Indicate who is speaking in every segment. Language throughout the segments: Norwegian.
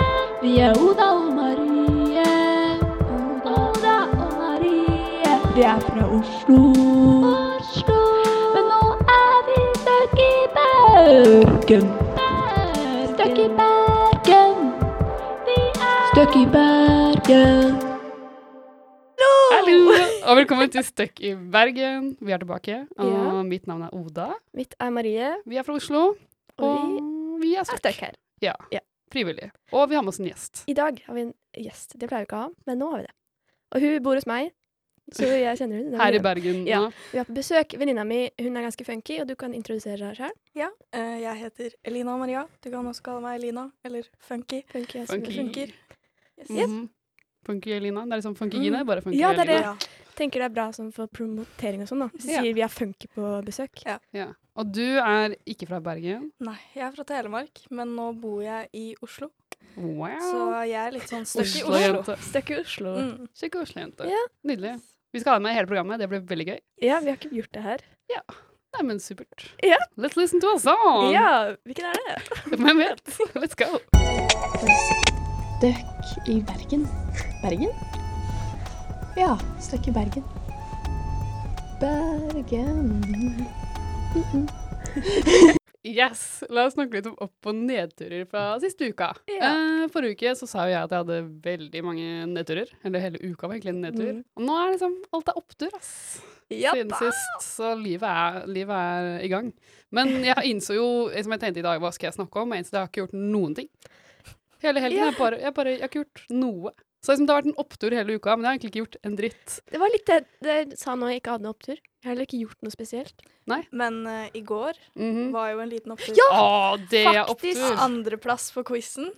Speaker 1: Marie, Oda og Marie. Oda og Marie. Vi er fra Oslo. Oslo. Men nå er vi stuck i Bergen. Stuck i Bergen. Vi er Stuck i Bergen.
Speaker 2: Hallo, og velkommen til Støkk i Bergen. Vi er tilbake, og
Speaker 3: Ja.
Speaker 2: mitt navn er Oda.
Speaker 3: Mitt er Marie,
Speaker 2: Vi er fra Oslo, og
Speaker 3: og vi
Speaker 2: vi er
Speaker 3: er
Speaker 2: støkk
Speaker 3: stuck her.
Speaker 2: frivillig. Og vi har med oss en gjest.
Speaker 3: I dag har vi en gjest. Det pleier vi ikke å ha, men nå har vi det. Og hun bor hos meg, så jeg kjenner henne.
Speaker 2: Her i Bergen.
Speaker 3: Ja.
Speaker 2: nå.
Speaker 3: Vi er på besøk. Venninna mi hun er ganske funky, og du kan introdusere deg sjøl.
Speaker 4: Eh, jeg heter Elina Maria. Du kan også kalle meg Elina, eller Funky.
Speaker 3: Funky. altså.
Speaker 2: Funky.
Speaker 3: Funky.
Speaker 4: Funker.
Speaker 2: Mhm. Funky Elina. Det er liksom Funky Gine, bare Funky
Speaker 3: Mm. Ja, det er det.
Speaker 2: Elina.
Speaker 4: Ja.
Speaker 3: Tenker det er bra sånn for promotering og sånn, da. Hvis du
Speaker 2: Ja.
Speaker 3: sier vi er funky på besøk.
Speaker 4: Ja.
Speaker 2: Ja. Og du er ikke fra Bergen.
Speaker 4: Nei, jeg er fra Telemark, men nå bor jeg i Oslo. Så
Speaker 2: Wow.
Speaker 4: jeg er litt sånn støkk i Oslo.
Speaker 2: Oslo-jente.
Speaker 3: Stuck i Oslo.
Speaker 4: Mm.
Speaker 2: Så koselig jente.
Speaker 3: Ja.
Speaker 2: Nydelig. Vi skal ha deg med i hele programmet, det blir veldig gøy.
Speaker 3: Ja, vi har ikke gjort det her.
Speaker 2: Nei, men supert.
Speaker 3: Ja.
Speaker 2: Let's listen to a song!
Speaker 3: Ja, hvilken er det?
Speaker 2: Hvem vet? Let's go!
Speaker 5: Støkk i Bergen. Bergen? Ja, støkk i Bergen. Bergen.
Speaker 2: Yes! La oss snakke litt om opp- og nedturer fra siste uka. Eh, forrige uke så sa jo jeg at jeg hadde veldig mange nedturer. Eller hele uka var egentlig en nedtur. Og nå er liksom alt er opptur, ass.
Speaker 4: Mm. Ja
Speaker 2: Siden
Speaker 4: da!
Speaker 2: sist. Så livet er, livet er i gang. Men jeg innså jo, eh, som jeg tenkte i dag, hva skal jeg snakke om? Jeg innså at jeg har ikke gjort noen ting. Hele helgen. Jeg, bare, jeg, bare, jeg har ikke gjort noe. Så liksom, det har vært en opptur hele uka, men jeg har egentlig ikke gjort en dritt.
Speaker 3: Det var litt det det sa nå jeg ikke hadde noen opptur. Jeg har heller ikke gjort noe spesielt.
Speaker 4: Men eh, i går
Speaker 2: Mhm.
Speaker 4: var jo en liten opptur.
Speaker 2: Å, det er
Speaker 4: Faktisk
Speaker 2: opptur!
Speaker 4: andreplass på quizen.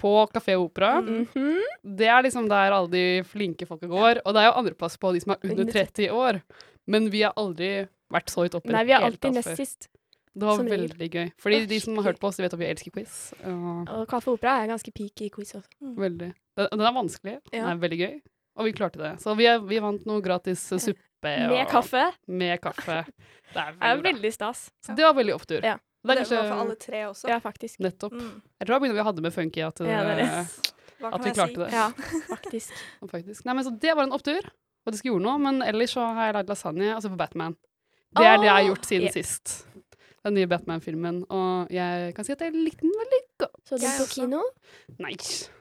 Speaker 2: På Kafé Opera.
Speaker 4: Mm.
Speaker 3: Mhm.
Speaker 2: Det er liksom der alle de flinke folka går. Og det er jo andreplass på de som er under
Speaker 3: Under
Speaker 2: 30 år. Men vi har aldri vært så høyt oppe. i
Speaker 3: Nei, vi er
Speaker 2: hele tatt
Speaker 3: alltid nest
Speaker 2: før.
Speaker 3: sist.
Speaker 2: Det var
Speaker 3: som regel.
Speaker 2: veldig gøy. Fordi
Speaker 3: Å,
Speaker 2: de som har hørt på oss, de vet at vi elsker quiz. Og
Speaker 3: Og Kaffe Opera er ganske peak i quiz også.
Speaker 2: veldig. Den, den er vanskelig. Den
Speaker 3: Ja.
Speaker 2: er veldig gøy. Og vi klarte det. Så vi, er, vi vant noe gratis eh, suppe og
Speaker 3: Med kaffe
Speaker 2: Med kaffe. Det er
Speaker 3: er
Speaker 2: veldig bra.
Speaker 3: veldig stas.
Speaker 2: Så det var veldig opptur.
Speaker 3: Ja.
Speaker 2: Det er
Speaker 4: Det var for
Speaker 2: kanskje
Speaker 4: alle tre også.
Speaker 3: Ja, faktisk.
Speaker 2: nettopp.
Speaker 4: Mm.
Speaker 2: Jeg tror det var begynner vi hadde med Funky at,
Speaker 3: Ja, det er det.
Speaker 2: eh, at
Speaker 4: Hva kan
Speaker 2: vi
Speaker 4: jeg si?
Speaker 2: klarte det.
Speaker 3: Ja, faktisk.
Speaker 2: Ja, Faktisk. Nei, men så det var en opptur. Og det skal gjøre noe, men ellers så har jeg lagd lasagne og så på Batman. Det er det jeg har gjort siden
Speaker 3: Åh!
Speaker 2: sist. Den nye Batman-filmen. Og jeg kan si at jeg likte den veldig godt.
Speaker 3: Så du
Speaker 4: Jeg
Speaker 3: på
Speaker 4: også.
Speaker 3: kino?
Speaker 2: Nei,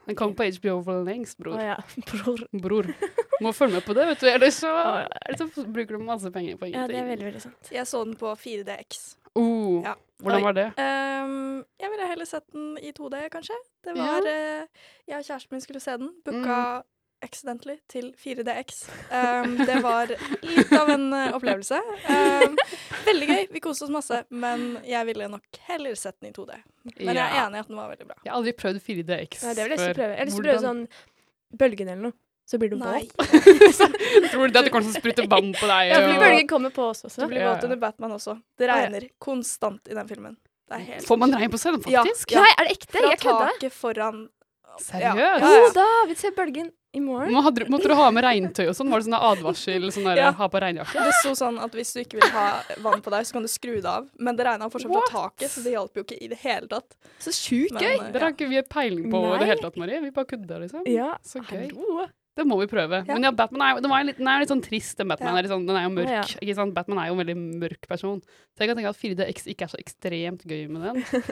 Speaker 2: den kom på HBO for lengst,
Speaker 3: Å
Speaker 2: bror.
Speaker 3: ja. Bror.
Speaker 2: Bror. Må følge med på det, vet du. Ellers så,
Speaker 3: Å,
Speaker 2: ellers så bruker du masse penger på
Speaker 3: Ja, det er
Speaker 2: ingenting.
Speaker 3: veldig, veldig sant.
Speaker 4: Jeg så den på 4DX.
Speaker 2: Oh,
Speaker 4: Ja.
Speaker 2: Hvordan var det?
Speaker 4: Ehm, jeg ville heller sett den i 2D, kanskje. Det
Speaker 2: Ja.
Speaker 4: var eh, Jeg og kjæresten min skulle se den. Booka
Speaker 3: Mm.
Speaker 4: accidentally til 4DX. Ehm, det var litt av en eh, opplevelse. Ehm, veldig gøy. Vi koste oss masse. Men jeg ville nok heller sett den i 2D. Men jeg er
Speaker 2: Ja.
Speaker 4: enig i at den var veldig bra.
Speaker 2: Jeg har aldri prøvd 4DX
Speaker 3: Nei, det vil jeg lyst til å prøve. Jeg har lyst til å
Speaker 2: Hvordan-
Speaker 3: prøve sånn Bølgen eller noe. Så blir du våt.
Speaker 4: Nei.
Speaker 2: Tror du det at det kommer til å sprutte vann på deg?
Speaker 3: Ja, fordi
Speaker 2: og-
Speaker 3: bølgen kommer på oss
Speaker 4: Du
Speaker 3: også.
Speaker 4: blir
Speaker 2: Ja, ja.
Speaker 4: våt under Batman også. Det
Speaker 3: ja.
Speaker 4: regner konstant i den filmen. Det er helt
Speaker 2: Får man regn på seg,
Speaker 4: Ja.
Speaker 2: faktisk?
Speaker 3: Nei, er det ekte?
Speaker 4: Fra
Speaker 3: Jeg kødda.
Speaker 4: taket foran
Speaker 2: Seriøst?
Speaker 4: Ja.
Speaker 3: Jo da, vi ser Oh, bølgen i morgen.
Speaker 2: Må, hadde, måtte du ha med regntøy og sånn? Var det sånn advarsel? Sånn der,
Speaker 4: Ja.
Speaker 2: Ha på regnjakke?
Speaker 4: Det sto sånn at hvis du ikke vil ha vann på deg, så kan du skru det av. Men det regna fortsatt fra taket, så det hjalp jo ikke i det hele tatt.
Speaker 3: Så sjukt
Speaker 4: Men,
Speaker 3: gøy!
Speaker 4: eh,
Speaker 2: Det har ikke vi peiling på i
Speaker 3: Nei.
Speaker 2: det hele tatt, Marie. Vi bare kødder, liksom.
Speaker 3: Ja,
Speaker 2: Så gøy.
Speaker 3: hallo.
Speaker 2: Det må vi prøve.
Speaker 4: Ja.
Speaker 2: Men ja, Batman er jo, den, var jo litt, den er jo litt sånn trist, den Batman.
Speaker 4: Ja.
Speaker 2: Er litt sånn, den er jo mørk.
Speaker 3: Ja.
Speaker 2: Ikke sant? Batman er jo en veldig mørk person. Så jeg kan tenke at 4DX ikke er så ekstremt gøy med den.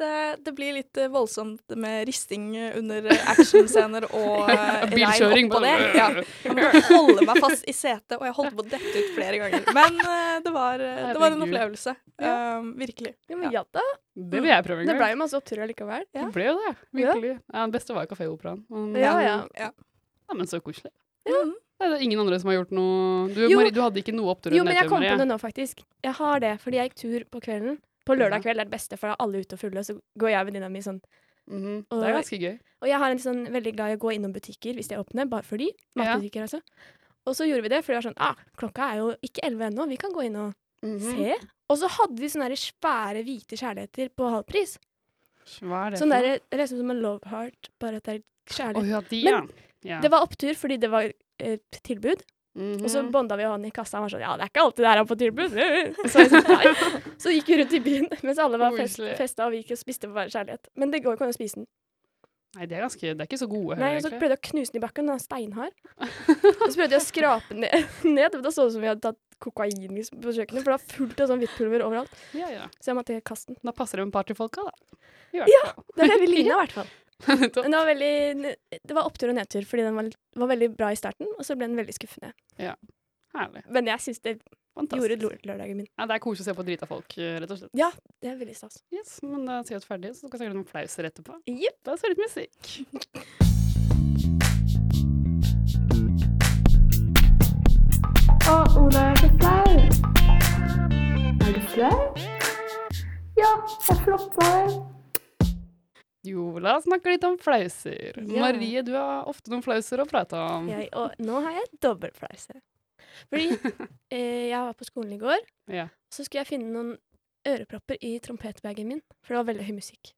Speaker 4: Det, det blir litt eh, voldsomt med risting eh, under eh, actionscener og eh, regn
Speaker 2: Bilkjøring
Speaker 4: oppå
Speaker 2: på den.
Speaker 4: det. Ja. Jeg måtte holde meg fast i setet, og jeg holdt på å dette ut flere ganger. Men eh, det var, eh, det var en
Speaker 2: Herregud.
Speaker 4: opplevelse. Um, virkelig.
Speaker 3: Ja, men ja da.
Speaker 2: Det vil jeg prøve en
Speaker 3: Det
Speaker 2: gang.
Speaker 3: ble jo masse oppturer likevel.
Speaker 2: Det ble jo det.
Speaker 3: Ja.
Speaker 2: Virkelig. Ja, den beste var jo Kafé Operaen. Men,
Speaker 3: Ja, ja.
Speaker 4: Ja.
Speaker 2: Ja, men så koselig.
Speaker 4: Mhm.
Speaker 2: Det er det ingen andre som har gjort noe Du,
Speaker 3: Jo.
Speaker 2: Marie, du hadde ikke noe opptur
Speaker 3: Jo,
Speaker 2: enn
Speaker 3: men jeg
Speaker 2: dette,
Speaker 3: kom på
Speaker 2: Marie.
Speaker 3: det nå, faktisk. Jeg har det, fordi jeg gikk tur på kvelden. På lørdag kveld er det beste, for da er alle ute og fulle, og så går jeg og venninna mi sånn.
Speaker 2: Mhm. Det er
Speaker 3: Og-
Speaker 2: ganske gøy.
Speaker 3: Og jeg har en sånn veldig glad i å gå innom butikker hvis de er åpne, bare fordi. Matbutikker, altså. Og så gjorde vi det, for det var sånn ah, klokka er jo ikke elleve ennå, vi kan gå inn og
Speaker 2: Mhm.
Speaker 3: se. Og så hadde de sånne der svære hvite kjærligheter på halv pris.
Speaker 2: Hva er det
Speaker 3: Sånn
Speaker 2: for noe?
Speaker 3: der, det er liksom som en love heart, bare at det er
Speaker 2: Å
Speaker 3: kjærlighet.
Speaker 2: ja, de,
Speaker 3: Men-
Speaker 2: ja. ja.
Speaker 3: Det var opptur fordi det var eh, tilbud. Og så
Speaker 2: Mhm.
Speaker 3: bonda vi og han i kassa. Han var sånn Ja, det er ikke alltid det her er på tilbud. Så, jeg sånn, «Nei». så gikk vi rundt i byen mens alle var fest,
Speaker 2: Koselig.
Speaker 3: festa, og vi gikk og spiste på bare kjærlighet. Men det går ikke an å spise den.
Speaker 2: Nei, det er ganske Det er ikke så gode
Speaker 3: Nei,
Speaker 2: hører,
Speaker 3: og så
Speaker 2: egentlig.
Speaker 3: prøvde jeg å knuse den i bakken, den er steinhard. Og så prøvde jeg å skrape den ned, ned, men da så det ut som vi hadde tatt kokain liksom, på kjøkkenet, for det var fullt av sånn hvitt pulver overalt.
Speaker 2: Ja, ja.
Speaker 3: Så jeg måtte kaste den.
Speaker 2: Da passer det med partyfolka, da. I hvert ja!
Speaker 3: Det er det vi ligna, i hvert fall.
Speaker 2: Nettopp.
Speaker 3: Men det var, veldig, det var opptur og nedtur, fordi den var, var veldig bra i starten, og så ble den veldig skuffende.
Speaker 2: Herlig.
Speaker 3: Men jeg syns det gjorde
Speaker 2: Fantastisk.
Speaker 3: lor- lørdagen min.
Speaker 2: Ja, det er koselig å se på drita folk, eh, rett og slett.
Speaker 3: Ja, det er veldig stas.
Speaker 2: Yes, Men da sier vi oss ferdige, så skal vi sikkert noen flauser etterpå.
Speaker 3: Jepp.
Speaker 2: Da er det litt musikk.
Speaker 1: Å, Ola er så flau. Er du flau? Ja, jeg floppa det.
Speaker 2: Jo, la oss snakke litt om flauser.
Speaker 3: Ja.
Speaker 2: Marie, du har ofte noen flauser å prate om.
Speaker 3: Jeg, og nå har jeg dobbeltflause. Fordi eh, jeg var på skolen i går,
Speaker 2: Ja.
Speaker 3: så skulle jeg finne noen ørepropper i trompetbagen min, for det var veldig høy musikk.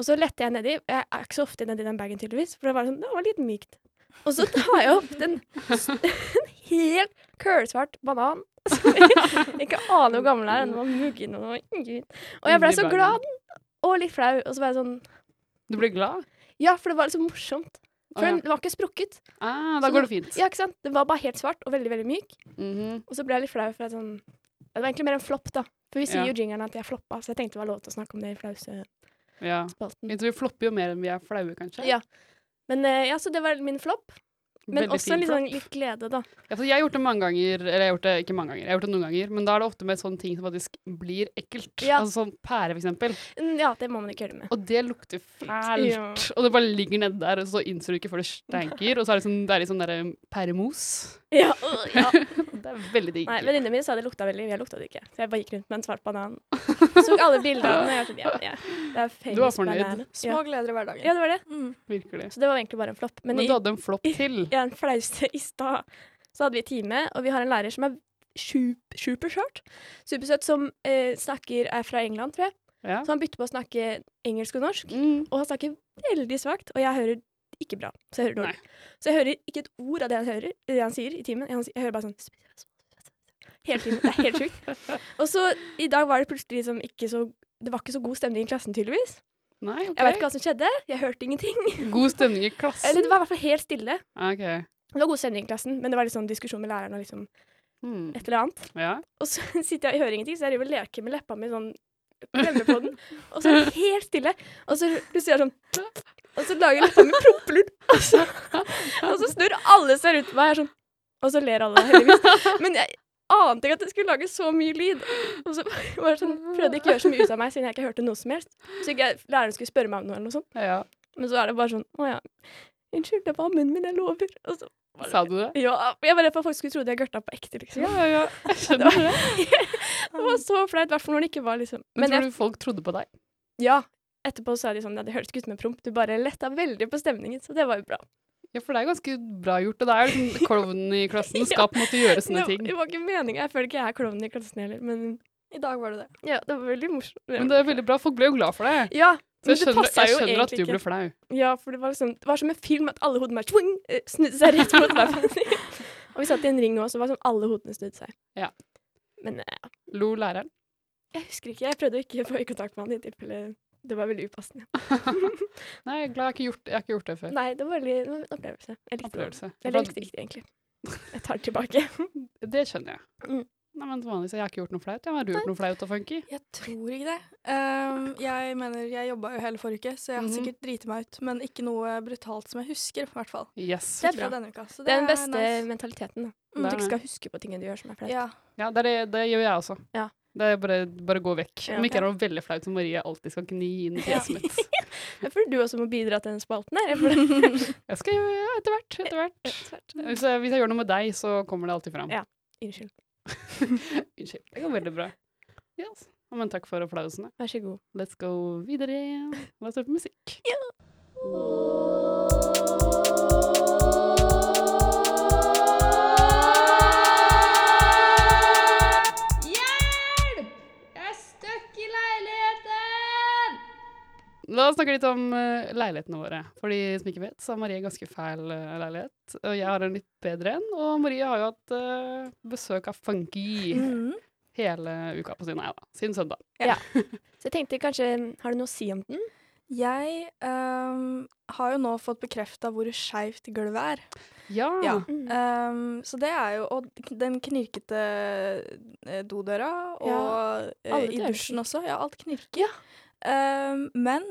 Speaker 3: Og så lette jeg nedi, jeg er ikke så ofte nedi den bagen tydeligvis, for det var, sånn, det var litt mykt. Og så tar jeg opp den, en helt kølsvart banan, som jeg ikke aner hvor gammel den er, den var muggen og Og jeg ble så glad, og litt flau, og så var jeg sånn,
Speaker 2: Du blir glad?
Speaker 3: ja, for det var liksom morsomt. For
Speaker 2: Å, ja.
Speaker 3: den var ikke sprukket.
Speaker 2: Ah, da
Speaker 3: Så
Speaker 2: går det fint.
Speaker 3: Ja, ikke sant? Den var bare helt svart og veldig, veldig myk.
Speaker 2: Mhm.
Speaker 3: Og så ble jeg litt flau for at sånn ja, Det var egentlig mer en flopp, da. For vi sier
Speaker 2: Ja.
Speaker 3: jo jingeren at jeg floppa, så jeg tenkte det var lov til å snakke om det i flausespalten.
Speaker 2: ja. Jeg tror vi flopper jo mer enn vi er flaue, kanskje.
Speaker 3: Ja. Men eh, ja, så det var min flopp. Men
Speaker 2: Veldig
Speaker 3: også
Speaker 2: fin
Speaker 3: litt, sånn,
Speaker 2: flopp.
Speaker 3: litt glede, da.
Speaker 2: Ja, for jeg har gjort det mange ganger, eller jeg har gjort det ikke mange ganger, jeg har gjort det noen ganger, men da er det ofte med sånne ting som faktisk blir ekkelt.
Speaker 3: Ja.
Speaker 2: Altså sånn pære, for eksempel.
Speaker 3: Mm, Ja, det må man ikke gjøre med.
Speaker 2: Og det lukter fælt.
Speaker 3: Ja.
Speaker 2: Og det bare ligger nedi der, og så innser du ikke før det stenker, og så er det sånn, det er litt sånn der um, pæremos.
Speaker 3: Ja, øh, ja.
Speaker 2: Det er veldig digg.
Speaker 3: Nei, Venninnene mine sa det lukta veldig, jeg lukta det ikke. Så jeg bare gikk rundt med en svart banan. Så alle bildene, og jeg var sånn Ja, ja. Det er
Speaker 2: Du var
Speaker 3: famous
Speaker 2: fornøyd.
Speaker 3: banan.
Speaker 4: Små
Speaker 3: Ja.
Speaker 4: gleder i hverdagen.
Speaker 3: ja, det var det.
Speaker 4: Mm.
Speaker 2: Virkelig.
Speaker 3: Så det var egentlig bare en flopp. Men,
Speaker 2: Men
Speaker 3: i
Speaker 2: du hadde en flopp til.
Speaker 3: ja, en flause i stad, så hadde vi time, og vi har en lærer som er su- supersøt, supersøt som eh, snakker, er fra England, tror jeg.
Speaker 2: Ja.
Speaker 3: Så han bytter på å snakke engelsk og norsk,
Speaker 2: Mm.
Speaker 3: og han snakker veldig svakt, og jeg hører ikke bra, så jeg hører dårlig. Så jeg hører ikke et ord av det han, hører, det han sier i timen. Jeg, jeg hører bare sånn Hele tiden. Det er helt sjukt. Og så i dag var det plutselig liksom ikke så Det var ikke så god stemning i klassen, tydeligvis.
Speaker 2: Nei, ok.
Speaker 3: Jeg vet ikke hva som skjedde, jeg hørte ingenting.
Speaker 2: God stemning i klassen.
Speaker 3: Eller det var i hvert fall helt stille.
Speaker 2: Ah, Ok.
Speaker 3: Det var god stemning i klassen, men det var litt sånn diskusjon med læreren og liksom
Speaker 2: Hmm.
Speaker 3: et eller annet.
Speaker 2: Ja.
Speaker 3: Og så sitter jeg og hører ingenting, så jeg driver og leker med leppa mi sånn Klemmer på den, og så er det helt stille. Og så plutselig er det sånn Og så lager leppa mi prompelyd, og, så- og så snur alle seg rundt meg, jeg er sånn Og så ler alle, heldigvis. Men jeg ante ikke at jeg skulle lage så mye lyd. Og så var det sånn, prøvde jeg ikke å gjøre så mye ut av meg, siden jeg ikke hørte noe som helst. Så ikke jeg, læreren skulle spørre meg om noe eller noe sånt.
Speaker 2: ja.
Speaker 3: Men så er det bare sånn Å ja. Unnskyld, det var munnen min, jeg lover. Og så,
Speaker 2: Sa du det?
Speaker 3: ja, jeg var redd for at folk skulle tro at jeg gørta på ekte, liksom.
Speaker 2: Ja, ja, ja. Jeg skjønner det.
Speaker 3: Det var så flaut, i hvert fall når det ikke var liksom
Speaker 2: Men
Speaker 3: Men
Speaker 2: tror
Speaker 3: jeg,
Speaker 2: du folk trodde på deg?
Speaker 3: ja, etterpå sa de sånn Ja, det hørtes ikke ut som en promp, du bare letta veldig på stemningen, så det var jo bra.
Speaker 2: Ja, for det er ganske bra gjort. Og det er jo liksom klovnen i klassen skal på en måte gjøre sånne
Speaker 3: det,
Speaker 2: ting.
Speaker 3: det var ikke meninga, jeg føler ikke jeg er klovnen i klassen heller, men
Speaker 4: I dag var det det.
Speaker 3: ja, det var veldig morsomt.
Speaker 2: Men det er veldig bra. Folk ble jo glad for det.
Speaker 3: ja,
Speaker 2: Så
Speaker 3: men
Speaker 2: jeg skjønner,
Speaker 3: det passer
Speaker 2: jeg
Speaker 3: jo
Speaker 2: skjønner at
Speaker 3: egentlig
Speaker 2: du
Speaker 3: ikke.
Speaker 2: ble flau.
Speaker 3: Ja, for det var liksom Det var som en film at alle hodene bare twing, eh, snudde seg rett mot hverandre. Og vi satt i en ring nå, så det var som alle hodene snudde seg.
Speaker 2: Ja.
Speaker 3: Men eh,
Speaker 2: Lo læreren.
Speaker 3: jeg husker ikke, jeg prøvde å ikke få kontakt med han i tilfelle det var veldig upassende.
Speaker 2: Nei, jeg er glad jeg har ikke gjort, jeg har ikke gjort det før.
Speaker 3: Nei, det var veldig det var en opplevelse. Jeg likte det.
Speaker 2: Opplevelse.
Speaker 3: Eller jeg likte det ikke, egentlig. Jeg tar det tilbake.
Speaker 2: Det skjønner jeg.
Speaker 3: Mm.
Speaker 2: Nei, men som vanlig så jeg har ikke gjort noe flaut. Jeg har du gjort noe flaut og funky?
Speaker 4: Jeg tror ikke det. Ehm, jeg mener, jeg jobba jo hele forrige uke, så jeg har
Speaker 2: Mhm.
Speaker 4: sikkert driti meg ut. Men ikke noe brutalt som jeg husker, i hvert fall.
Speaker 2: Yes.
Speaker 3: Det er
Speaker 4: Ikke fra
Speaker 3: bra.
Speaker 4: denne uka. Så
Speaker 3: Det er den beste
Speaker 4: nice.
Speaker 3: mentaliteten. da.
Speaker 4: Mm.
Speaker 3: At du ikke skal huske på tingene du gjør som er flaut.
Speaker 4: Ja.
Speaker 2: Ja, det, er, det- det gjør jeg også.
Speaker 3: Ja.
Speaker 2: Det er bare, bare gå vekk.
Speaker 3: Ja.
Speaker 2: Om ikke det er noe veldig flaut som Marie alltid skal gni inn i fjeset mitt.
Speaker 3: Jeg føler du også må bidra til den spalten her. Jeg føler
Speaker 2: Jeg skal gjøre ja, etter hvert, etter hvert.
Speaker 3: Mm.
Speaker 2: Hvis jeg, hvis jeg gjør noe med deg, så kommer det alltid fram.
Speaker 3: Ja. Unnskyld.
Speaker 2: Unnskyld. Det går veldig bra. Yes. Ja, Men takk for applausene.
Speaker 3: Vær så god.
Speaker 2: Let's go videre. La oss høre på musikk.
Speaker 1: Hjelp! Jeg er stuck i leiligheten!
Speaker 2: La oss snakke litt om eh, leilighetene våre. For de som ikke vet, så har Marie en ganske fæl eh, leilighet. Og jeg har en litt bedre en. Og Marie har jo hatt eh, besøk av Funky
Speaker 4: Mhm.
Speaker 2: hele uka på siden, nei da, siden søndag.
Speaker 3: mm, Så jeg tenkte kanskje Har du noe å si om den?
Speaker 4: Jeg ehm, har jo nå fått bekrefta hvor skeivt gulvet er.
Speaker 2: Ja.
Speaker 4: Ja. Ehm, så det er jo Og den knirkete eh, dodøra, og eh,
Speaker 3: alle
Speaker 4: i
Speaker 3: dører
Speaker 4: dusjen også. Ja, alt knirker. Ehm, men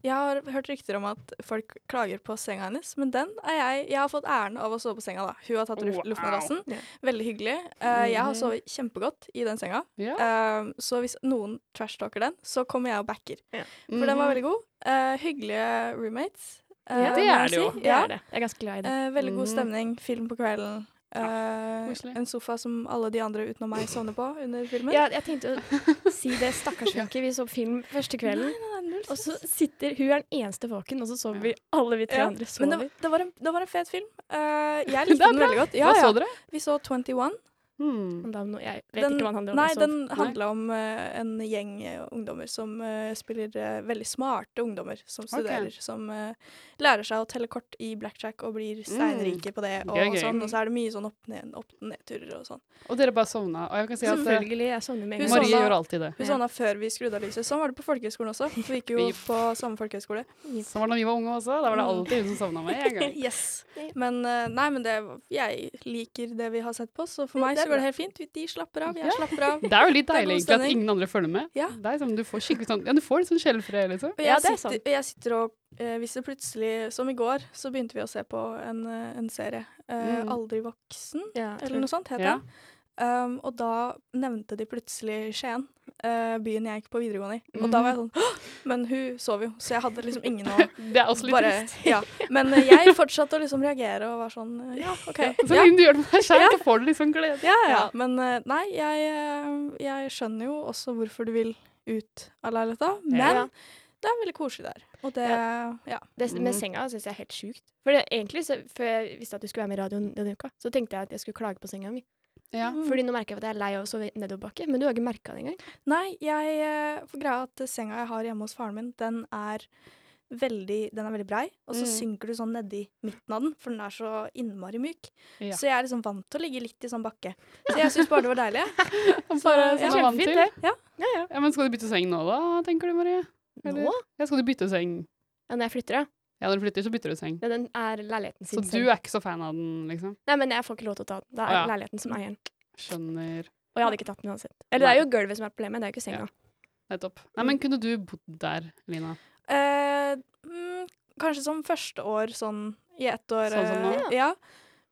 Speaker 4: jeg har hørt rykter om at folk klager på senga hennes, men den er jeg Jeg har fått æren av å sove på senga, da. Hun har tatt
Speaker 2: Wow.
Speaker 4: luf- luftmadrassen.
Speaker 3: Ja.
Speaker 4: Veldig hyggelig. Eh, jeg har
Speaker 2: Mhm.
Speaker 4: sovet kjempegodt i den senga.
Speaker 2: Ja.
Speaker 4: Ehm, så hvis noen trashtalker den, så kommer jeg og backer. For den var
Speaker 2: Mhm.
Speaker 4: veldig god. Eh, hyggelige roommates. eh,
Speaker 3: Ja,
Speaker 2: det
Speaker 4: må
Speaker 2: er
Speaker 4: jeg
Speaker 2: det jo.
Speaker 4: si.
Speaker 3: Det
Speaker 4: Ja.
Speaker 3: er det. Jeg er ganske glad i det.
Speaker 4: Eh, veldig god
Speaker 2: Mhm.
Speaker 4: stemning. Film på kvelden. Eh,
Speaker 2: koselig.
Speaker 4: en sofa som alle de andre utenom meg sovner på under filmen.
Speaker 3: Ja, jeg tenkte å si det. Stakkars Funky, vi så film første kvelden. Og så sitter hun er den eneste våken, og så sover vi alle vi tre
Speaker 4: Ja,
Speaker 3: andre.
Speaker 4: Men
Speaker 3: sover.
Speaker 4: det, det, var en, det var en fet film. Eh, jeg
Speaker 2: Det
Speaker 4: likte
Speaker 2: er
Speaker 4: den
Speaker 2: bra.
Speaker 4: veldig godt. Ja,
Speaker 2: Hva så
Speaker 4: ja.
Speaker 2: dere?
Speaker 4: Vi så 21.
Speaker 2: Hmm.
Speaker 3: Men da, nå- jeg vet
Speaker 4: Den-
Speaker 3: ikke hva den handler om.
Speaker 4: Nei,
Speaker 3: så-
Speaker 4: den handla om eh, en gjeng eh, ungdommer som eh, spiller eh, veldig smarte ungdommer som studerer. Som eh, lærer seg å telle kort i blackjack og blir steinrike på Mm. det. Og,
Speaker 2: Gøy, gøy.
Speaker 4: sånn, og så er det mye sånn opp-ned- opp-ned-turer og sånn.
Speaker 2: Og dere bare sovna. Og jeg kan si at eh,
Speaker 3: Selvfølgelig. Jeg sovner med en
Speaker 4: Hun
Speaker 3: gang.
Speaker 2: Marie
Speaker 4: sovna.
Speaker 2: gjør alltid det.
Speaker 4: Vi
Speaker 3: Ja.
Speaker 4: sovna før vi skrudde av lyset. Sånn var det på folkehøgskolen også. for Vi gikk jo
Speaker 2: Vi-
Speaker 4: på samme folkehøgskole.
Speaker 2: Sånn var det da vi var unge også. Da var det
Speaker 4: Mm.
Speaker 2: alltid hun som sovna med en gang.
Speaker 4: Yes. Men eh, nei, men det, jeg liker det vi har sett på, så for meg
Speaker 3: det er
Speaker 4: så går det helt fint. De slapper av, jeg slapper av.
Speaker 2: Det er jo litt
Speaker 4: Det er god
Speaker 2: deilig egentlig at
Speaker 4: stemning.
Speaker 2: ingen andre følger med.
Speaker 4: Ja.
Speaker 2: Det er liksom, du får skikkelig sånn, ja, du får en sånn skjellfred, liksom.
Speaker 4: Og jeg,
Speaker 3: Ja, det er
Speaker 4: sitter,
Speaker 3: sant.
Speaker 4: og jeg sitter og eh, Hvis det plutselig, som i går, så begynte vi å se på en, eh, en serie. eh,
Speaker 2: Mm.
Speaker 4: Aldri voksen,
Speaker 3: Ja, jeg tror-
Speaker 4: eller noe sånt het
Speaker 2: Ja.
Speaker 4: den. Um, og da nevnte de plutselig Skien, eh, byen jeg gikk på videregående i. Og
Speaker 3: Mm.
Speaker 4: da var jeg sånn «Åh!» Men hun sov jo, så jeg hadde liksom ingen å
Speaker 2: Det er også litt
Speaker 4: bare,
Speaker 2: trist.
Speaker 4: ja. Men eh, jeg fortsatte å liksom reagere og var sånn eh, Ja, OK.
Speaker 2: Så
Speaker 4: Ja.
Speaker 2: lenge du gjør det med skjerm, så får du liksom glede.
Speaker 4: Ja, ja.
Speaker 2: Ja.
Speaker 4: Men eh, nei, jeg, eh, jeg skjønner jo også hvorfor du vil ut av leiligheta, men
Speaker 3: Ja.
Speaker 4: det er veldig koselig der. Og det Ja.
Speaker 3: Det
Speaker 2: Mm.
Speaker 3: med senga syns jeg er helt sjukt. For det, egentlig, så, før jeg visste at du skulle være med i radioen denne uka, så tenkte jeg at jeg skulle klage på senga mi.
Speaker 2: Ja.
Speaker 3: Fordi nå merker jeg at jeg er lei av å sove i nedoverbakke, men du har ikke merka det engang.
Speaker 4: Nei, jeg eh, For greia er at senga jeg har hjemme hos faren min, den er veldig, den er veldig brei, og så
Speaker 2: Mm.
Speaker 4: synker du sånn nedi midten av den, for den er så innmari myk.
Speaker 2: Ja.
Speaker 4: Så jeg er liksom vant til å ligge litt i sånn bakke. Så jeg syns bare det var deilig. jeg.
Speaker 2: Og Bare,
Speaker 4: Så,
Speaker 2: som
Speaker 4: ja.
Speaker 2: du er vant til.
Speaker 4: Ja.
Speaker 3: Ja, ja.
Speaker 2: Ja, men skal du bytte seng nå, da, tenker du, Marie? Eller-
Speaker 3: Nå?
Speaker 2: Ja, skal du bytte seng?
Speaker 3: Ja, når jeg flytter, ja.
Speaker 2: Ja, når du flytter, så bytter du seng.
Speaker 3: Ja, Den er leiligheten
Speaker 2: Så
Speaker 3: sin.
Speaker 2: du er ikke så fan av den, liksom?
Speaker 3: Nei, men jeg får ikke lov til å ta den. Da er
Speaker 2: Å, ja.
Speaker 3: leiligheten som eieren.
Speaker 2: Skjønner.
Speaker 3: Og jeg hadde ikke tatt den uansett. Eller det er jo gulvet som er problemet, det er jo ikke senga.
Speaker 2: Nettopp. Nei, men kunne du bodd der, Lina?
Speaker 4: Eh, mm, kanskje som første år, sånn i ett år.
Speaker 2: Sånn som
Speaker 4: eh,
Speaker 2: nå? Mm.
Speaker 4: ja.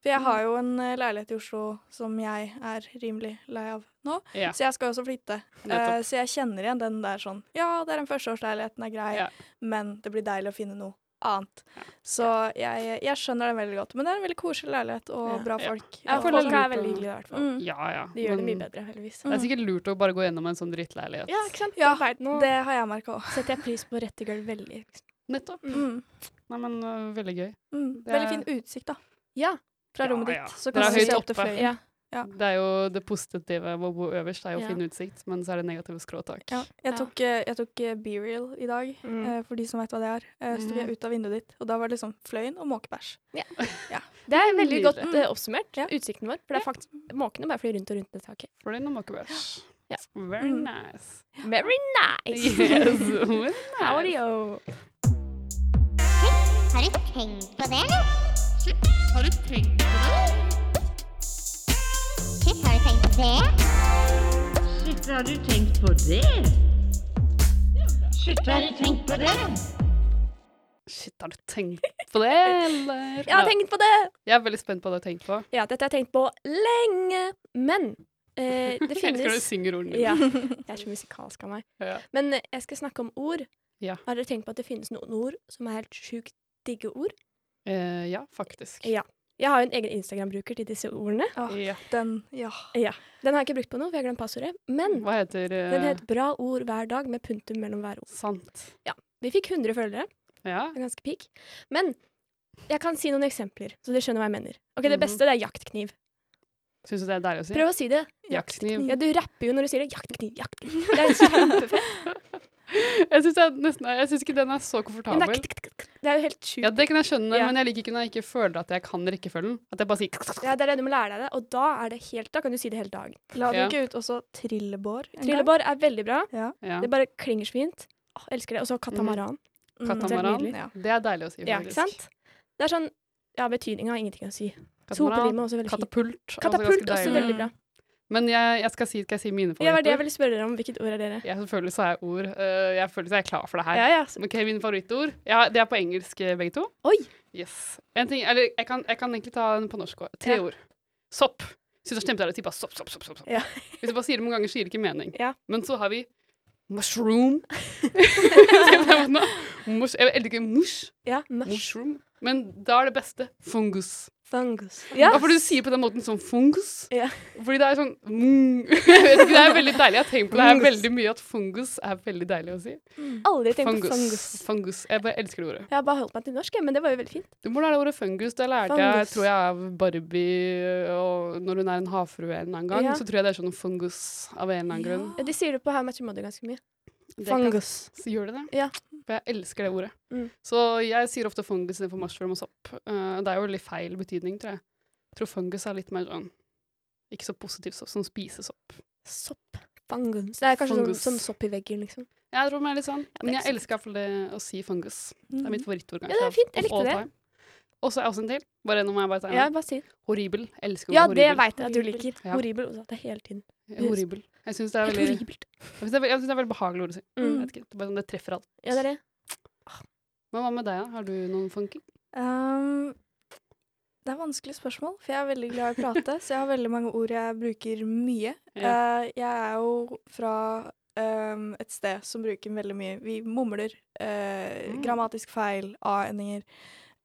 Speaker 4: For jeg har jo en eh, leilighet i Oslo som jeg er rimelig lei av nå,
Speaker 2: Ja.
Speaker 4: så jeg skal jo også flytte. Eh,
Speaker 2: Nettopp.
Speaker 4: så jeg kjenner igjen den der sånn Ja, det er en førsteårsleilighet, den er grei,
Speaker 2: Ja.
Speaker 4: men det blir deilig å finne noe annet. Så jeg, jeg skjønner den veldig godt. Men det er en veldig koselig leilighet og
Speaker 3: Ja.
Speaker 4: bra
Speaker 2: Ja.
Speaker 4: folk.
Speaker 3: Ja,
Speaker 2: Jeg føler
Speaker 3: folk
Speaker 2: det er
Speaker 3: er veldig
Speaker 2: lurt å-
Speaker 3: hyggelige, i hvert fall.
Speaker 4: Mm.
Speaker 2: Ja, ja.
Speaker 3: De gjør det
Speaker 2: men
Speaker 3: mye bedre, heldigvis.
Speaker 2: Det er sikkert lurt å bare gå gjennom en sånn drittleilighet.
Speaker 3: Ja, ikke sant?
Speaker 4: Ja,
Speaker 3: Da vet nå
Speaker 4: Det har jeg merka òg.
Speaker 3: setter jeg pris på rette gulv veldig. Liksom.
Speaker 2: Nettopp.
Speaker 4: Mm.
Speaker 2: Nei, men øh, veldig gøy.
Speaker 4: Mm.
Speaker 2: Det er-
Speaker 4: Veldig fin utsikt, da.
Speaker 3: Ja.
Speaker 4: Fra
Speaker 2: Ja,
Speaker 4: rommet
Speaker 2: ja.
Speaker 4: ditt. Så
Speaker 2: Dere
Speaker 4: kan
Speaker 2: er
Speaker 4: du se
Speaker 2: høyt
Speaker 4: opp til
Speaker 2: oppe.
Speaker 4: fløyen.
Speaker 3: Ja.
Speaker 4: Ja.
Speaker 2: Det er jo det positive med å bo øverst, det er jo
Speaker 3: Ja.
Speaker 2: fin utsikt, men så er det negative skråtak.
Speaker 4: Ja, jeg tok, eh, jeg tok eh, B-reel i dag,
Speaker 3: Mm.
Speaker 4: eh, for de som vet hva det er. Eh, Så tok jeg
Speaker 2: Mhm.
Speaker 4: ut av vinduet ditt, og da var det liksom fløyen og måkebæsj.
Speaker 3: Det er veldig godt
Speaker 2: Nydelig.
Speaker 3: eh, oppsummert,
Speaker 4: Ja.
Speaker 3: utsikten vår. For det er faktisk måkene bare flyr rundt og rundt det taket.
Speaker 2: Fløyen og måkebæsj.
Speaker 3: Ja.
Speaker 2: Very
Speaker 4: Mm.
Speaker 2: nice.
Speaker 3: Very nice!
Speaker 2: Yes, very nice.
Speaker 3: Audio.
Speaker 6: Har du tenkt på det, eller? Har du tenkt på det? Shit, har du tenkt på det?
Speaker 7: Shit, har du tenkt på det? Shit, har du tenkt på det?
Speaker 2: Shit, har du tenkt på det, eller?
Speaker 3: Jeg har
Speaker 2: Ja.
Speaker 3: tenkt på det!
Speaker 2: jeg er veldig spent på hva du har tenkt på.
Speaker 3: Ja, dette har jeg tenkt på lenge. Men eh, det
Speaker 2: Jeg elsker når du
Speaker 3: finnes
Speaker 2: synger ordene
Speaker 3: ja, Jeg er så musikalsk av meg.
Speaker 2: Ja.
Speaker 3: Men eh, jeg skal snakke om ord.
Speaker 2: Ja.
Speaker 3: Har dere tenkt på at det finnes noen ord som er helt sjukt digge ord?
Speaker 2: Eh, ja, faktisk.
Speaker 3: Ja. Jeg har jo en egen Instagram-bruker til disse ordene.
Speaker 4: Åh,
Speaker 2: Ja.
Speaker 4: Den, ja.
Speaker 3: Den har jeg ikke brukt på noe, for jeg har glemt passordet. Men
Speaker 2: Hva heter eh,
Speaker 3: den het Bra ord hver dag med punktum mellom hver ord.
Speaker 2: Sant.
Speaker 3: Vi fikk 100 følgere.
Speaker 2: Ja.
Speaker 3: Det er Ganske peak. Men jeg kan si noen eksempler, så dere skjønner hva jeg mener. Ok, Det
Speaker 2: Mhm.
Speaker 3: beste det er jaktkniv.
Speaker 2: Syns du det er deilig å si?
Speaker 3: Prøv å si det.
Speaker 2: Jaktkniv.
Speaker 3: Ja, Du rapper jo når du sier det. Jaktkniv, jaktkniv. Det er kjempefett.
Speaker 2: Jeg syns det er nesten- jeg syns ikke den er så
Speaker 3: Men det
Speaker 2: komfortabel.
Speaker 3: er, k- k- k- det er jo helt sjukt.
Speaker 2: Ja, det kan jeg skjønne,
Speaker 3: Ja.
Speaker 2: men jeg liker ikke når jeg ikke føler at jeg kan rekkefølgen. At jeg bare sier
Speaker 3: Ja, det er det du må lære deg det, og da er det helt, da kan du si det hele dagen.
Speaker 4: La du
Speaker 2: Ja.
Speaker 4: ikke ut også trillebår? en gang?
Speaker 3: Trillebår er veldig bra.
Speaker 4: Ja.
Speaker 2: ja.
Speaker 3: Det bare klinger så fint. Åh, elsker det. Og så katamaran.
Speaker 4: Mm.
Speaker 2: Katamaran.
Speaker 3: nydelig.
Speaker 4: Ja.
Speaker 2: Det er deilig å si,
Speaker 3: Ja, ikke
Speaker 2: faktisk.
Speaker 3: sant? Det er sånn Ja, betydninga har ingenting å si. Sopelime
Speaker 2: Katamaran.
Speaker 3: er også veldig fint.
Speaker 2: Katapult. er også
Speaker 3: Katapult
Speaker 2: ganske
Speaker 3: også
Speaker 2: deilig.
Speaker 3: veldig bra.
Speaker 2: Men jeg, jeg skal si, skal jeg si mine
Speaker 3: Ja, det var det jeg
Speaker 2: favorittord.
Speaker 3: ville spørre dere om. Hvilket ord er dere?
Speaker 2: Jeg, selvfølgelig så er ord eh, Jeg føler at jeg er klar for det her.
Speaker 3: Ja, ja. så-
Speaker 2: Ok, mine favorittord. Ja, det er på engelsk, eh, begge to.
Speaker 3: Oi!
Speaker 2: Yes. En ting, eller jeg kan, jeg kan egentlig ta den på norsk òg. Tre
Speaker 3: Ja.
Speaker 2: ord. Sopp. Synes jeg stemte der, typa sopp, sopp, sopp, sopp. sopp.
Speaker 3: Ja.
Speaker 2: Hvis du bare sier det mange ganger, så gir det ikke mening.
Speaker 3: Ja.
Speaker 2: Men så har vi mushroom. Skal jeg ta den nå? Mush, jeg elsker mush.
Speaker 3: Ja, mush.
Speaker 2: Mushroom. Men da er det beste fungus.
Speaker 3: Fungus. Ja.
Speaker 2: Ja, for du sier på den måten sånn fungus.
Speaker 3: Ja.
Speaker 2: Fordi det er sånn mm. Jeg vet ikke, det er veldig deilig. Jeg har tenkt på det her
Speaker 3: Fungus.
Speaker 2: veldig mye, at fungus er veldig deilig å si.
Speaker 3: Aldri tenkt på fungus.
Speaker 2: Fungus. fungus. Jeg bare elsker det ordet.
Speaker 3: Jeg har bare holdt meg til norsk, jeg, men det var jo veldig fint.
Speaker 2: Du må lære ordet fungus. Det lærte jeg
Speaker 3: Fungus.
Speaker 2: tror jeg av Barbie og når hun er en havfrue en eller annen gang.
Speaker 3: Ja.
Speaker 2: Så tror jeg det er sånn fungus av en eller annen grunn.
Speaker 3: Ja, de sier det på How Much Mother ganske mye.
Speaker 2: Det kan-
Speaker 3: Fungus.
Speaker 2: Så gjør det det?
Speaker 3: Ja.
Speaker 2: For jeg elsker det ordet.
Speaker 3: Mm.
Speaker 2: Så jeg sier ofte fungus istedenfor mushroom og sopp. Eh, det er jo litt feil betydning, tror jeg. Jeg tror fungus er litt mer sånn ikke så positiv sopp, som spisesopp.
Speaker 3: Sopp. Fungus. Det er kanskje sånn,
Speaker 2: Fungus.
Speaker 3: sånn sopp i veggen, liksom.
Speaker 2: Jeg tror det er litt sånn,
Speaker 3: det
Speaker 2: men
Speaker 3: er Mm.
Speaker 2: jeg elsker iallfall det å si fungus.
Speaker 4: Mm.
Speaker 2: Det er mitt favorittord, kanskje.
Speaker 3: det er
Speaker 2: av-
Speaker 3: fint. Jeg
Speaker 2: of
Speaker 3: likte
Speaker 2: all
Speaker 3: det.
Speaker 2: time. Og så er jeg også en til. Bare nå må jeg bare tegne.
Speaker 3: Ja, bare si det.
Speaker 2: Horribel. Jeg elsker ordet
Speaker 3: Ja, det
Speaker 2: horribel.
Speaker 3: veit jeg at du liker.
Speaker 2: Ja.
Speaker 3: Horribel. Også, at det er hele tiden.
Speaker 2: Horribel. Jeg syns det er veldig jeg
Speaker 3: Horribelt.
Speaker 2: synes det er, veld- jeg synes det er veldig behagelig ord å si. Jeg
Speaker 3: Mm.
Speaker 2: vet ikke, det, er bare sånn, det treffer alt.
Speaker 3: Ja, det er det.
Speaker 2: Men hva med deg, da? Har du noen funky?
Speaker 4: Um, det er vanskelig spørsmål, for jeg er veldig glad i å prate, så jeg har veldig mange ord jeg bruker mye. Eh, jeg er jo fra um, et sted som bruker veldig mye Vi mumler. eh,
Speaker 2: Mm.
Speaker 4: Grammatisk feil, a-endinger,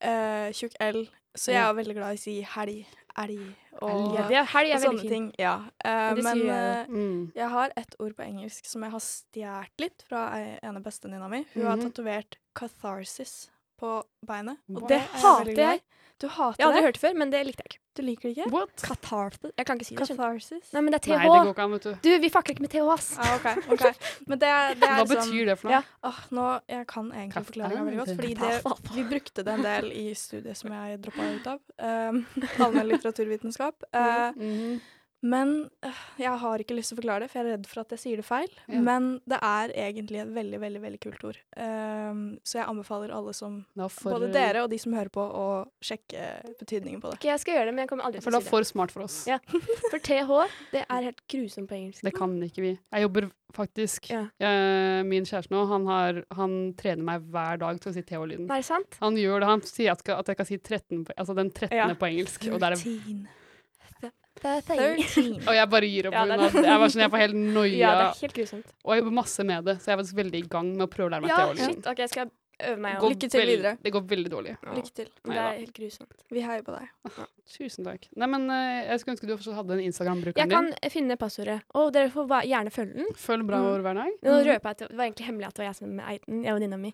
Speaker 4: eh, tjukk L. Så jeg
Speaker 2: Ja.
Speaker 4: er veldig glg i å si helg, elg og,
Speaker 2: Elg,
Speaker 3: Ja, det er helg
Speaker 4: og
Speaker 3: er veldig
Speaker 4: sånne
Speaker 3: fint.
Speaker 4: ting. Ja. Eh,
Speaker 3: Men det
Speaker 4: men
Speaker 3: sier jeg jo.
Speaker 4: eh,
Speaker 2: Mm.
Speaker 4: jeg har et ord på engelsk som jeg har stjålet litt fra ei- ene bestevenninna mi. Hun har
Speaker 2: Mhm.
Speaker 4: tatovert 'catharsis' på beinet.
Speaker 2: Wow.
Speaker 3: Det
Speaker 4: er jeg
Speaker 3: hater
Speaker 4: veldig glad i.
Speaker 3: jeg.
Speaker 4: Du hater
Speaker 3: Jeg har aldri hørt
Speaker 4: det?
Speaker 3: det før, men det likte jeg ikke.
Speaker 4: Du liker det ikke?
Speaker 2: What?
Speaker 3: Katarsis. Jeg kan ikke si det. skjønner du.
Speaker 4: Catharsis.
Speaker 3: Nei, men det er
Speaker 2: Nei, det
Speaker 3: TH.
Speaker 2: går ikke an, vet du.
Speaker 3: Du, vi fakler ikke med TH, ass.
Speaker 4: Ja, ok, ok. Men det, er- det er
Speaker 2: Hva
Speaker 4: liksom
Speaker 2: betyr det for noe?
Speaker 3: sånn- Ja.
Speaker 4: Åh, nå, Jeg kan egentlig
Speaker 2: Kaff-
Speaker 4: forklaringa veldig godt,
Speaker 2: Nei,
Speaker 4: fordi
Speaker 2: det-
Speaker 4: det, vi brukte det en del i studiet som jeg droppa ut av. Um, Allmenn litteraturvitenskap. Eh,
Speaker 2: Mhm.
Speaker 4: men øh, jeg har ikke lyst til å forklare det, for jeg er redd for at jeg sier det feil.
Speaker 2: Ja.
Speaker 4: Men det er egentlig et veldig, veldig veldig kult ord. Um, så jeg anbefaler alle som
Speaker 2: Da får-
Speaker 4: Både dere og de som hører på, å sjekke betydningen på det.
Speaker 3: Ok, jeg skal gjøre det, men jeg kommer aldri
Speaker 2: For
Speaker 3: til å
Speaker 2: det
Speaker 3: si
Speaker 2: er
Speaker 3: det.
Speaker 2: for smart for oss.
Speaker 3: Ja. For TH, det er helt grusomt på engelsk.
Speaker 2: Det kan ikke vi. Jeg jobber faktisk
Speaker 3: Ja.
Speaker 2: eh, Min kjæreste nå, han, har, han trener meg hver dag til å si TH-lyden.
Speaker 3: Nei, sant?
Speaker 2: Han gjør det, han sier at, skal, at jeg kan si 13, på- altså den 13.
Speaker 3: Ja.
Speaker 2: på engelsk. Og, det er,
Speaker 4: 13.
Speaker 3: Det er feil.
Speaker 4: 13.
Speaker 2: og jeg bare gir opp.
Speaker 3: Ja,
Speaker 2: Ja,
Speaker 3: det er
Speaker 2: jeg, var sånn, jeg får helt noia.
Speaker 3: Ja, det er helt grusomt.
Speaker 2: Og jeg jobber masse med det, så jeg er faktisk veldig i gang med å prøve å lære meg
Speaker 3: Ja,
Speaker 2: TH-lyden.
Speaker 3: shit. Ok, jeg skal øve meg.
Speaker 2: Går
Speaker 3: om-
Speaker 4: Lykke til
Speaker 2: veld-
Speaker 4: videre.
Speaker 2: Det går veldig dårlig.
Speaker 4: Lykke til.
Speaker 3: Det
Speaker 2: Neida.
Speaker 3: er helt grusomt.
Speaker 4: Vi heier på deg.
Speaker 2: Tusen takk. Nei, men eh, Jeg skulle ønske du også hadde en
Speaker 3: Jeg
Speaker 2: Instagram-brukeren
Speaker 3: kan
Speaker 2: din.
Speaker 3: finne passordet. Og dere får va- gjerne følge den.
Speaker 2: Følg bra over hver dag.
Speaker 3: Nå røper jeg at det var egentlig hemmelig at det var jeg som eide den. Jeg og venninna mi.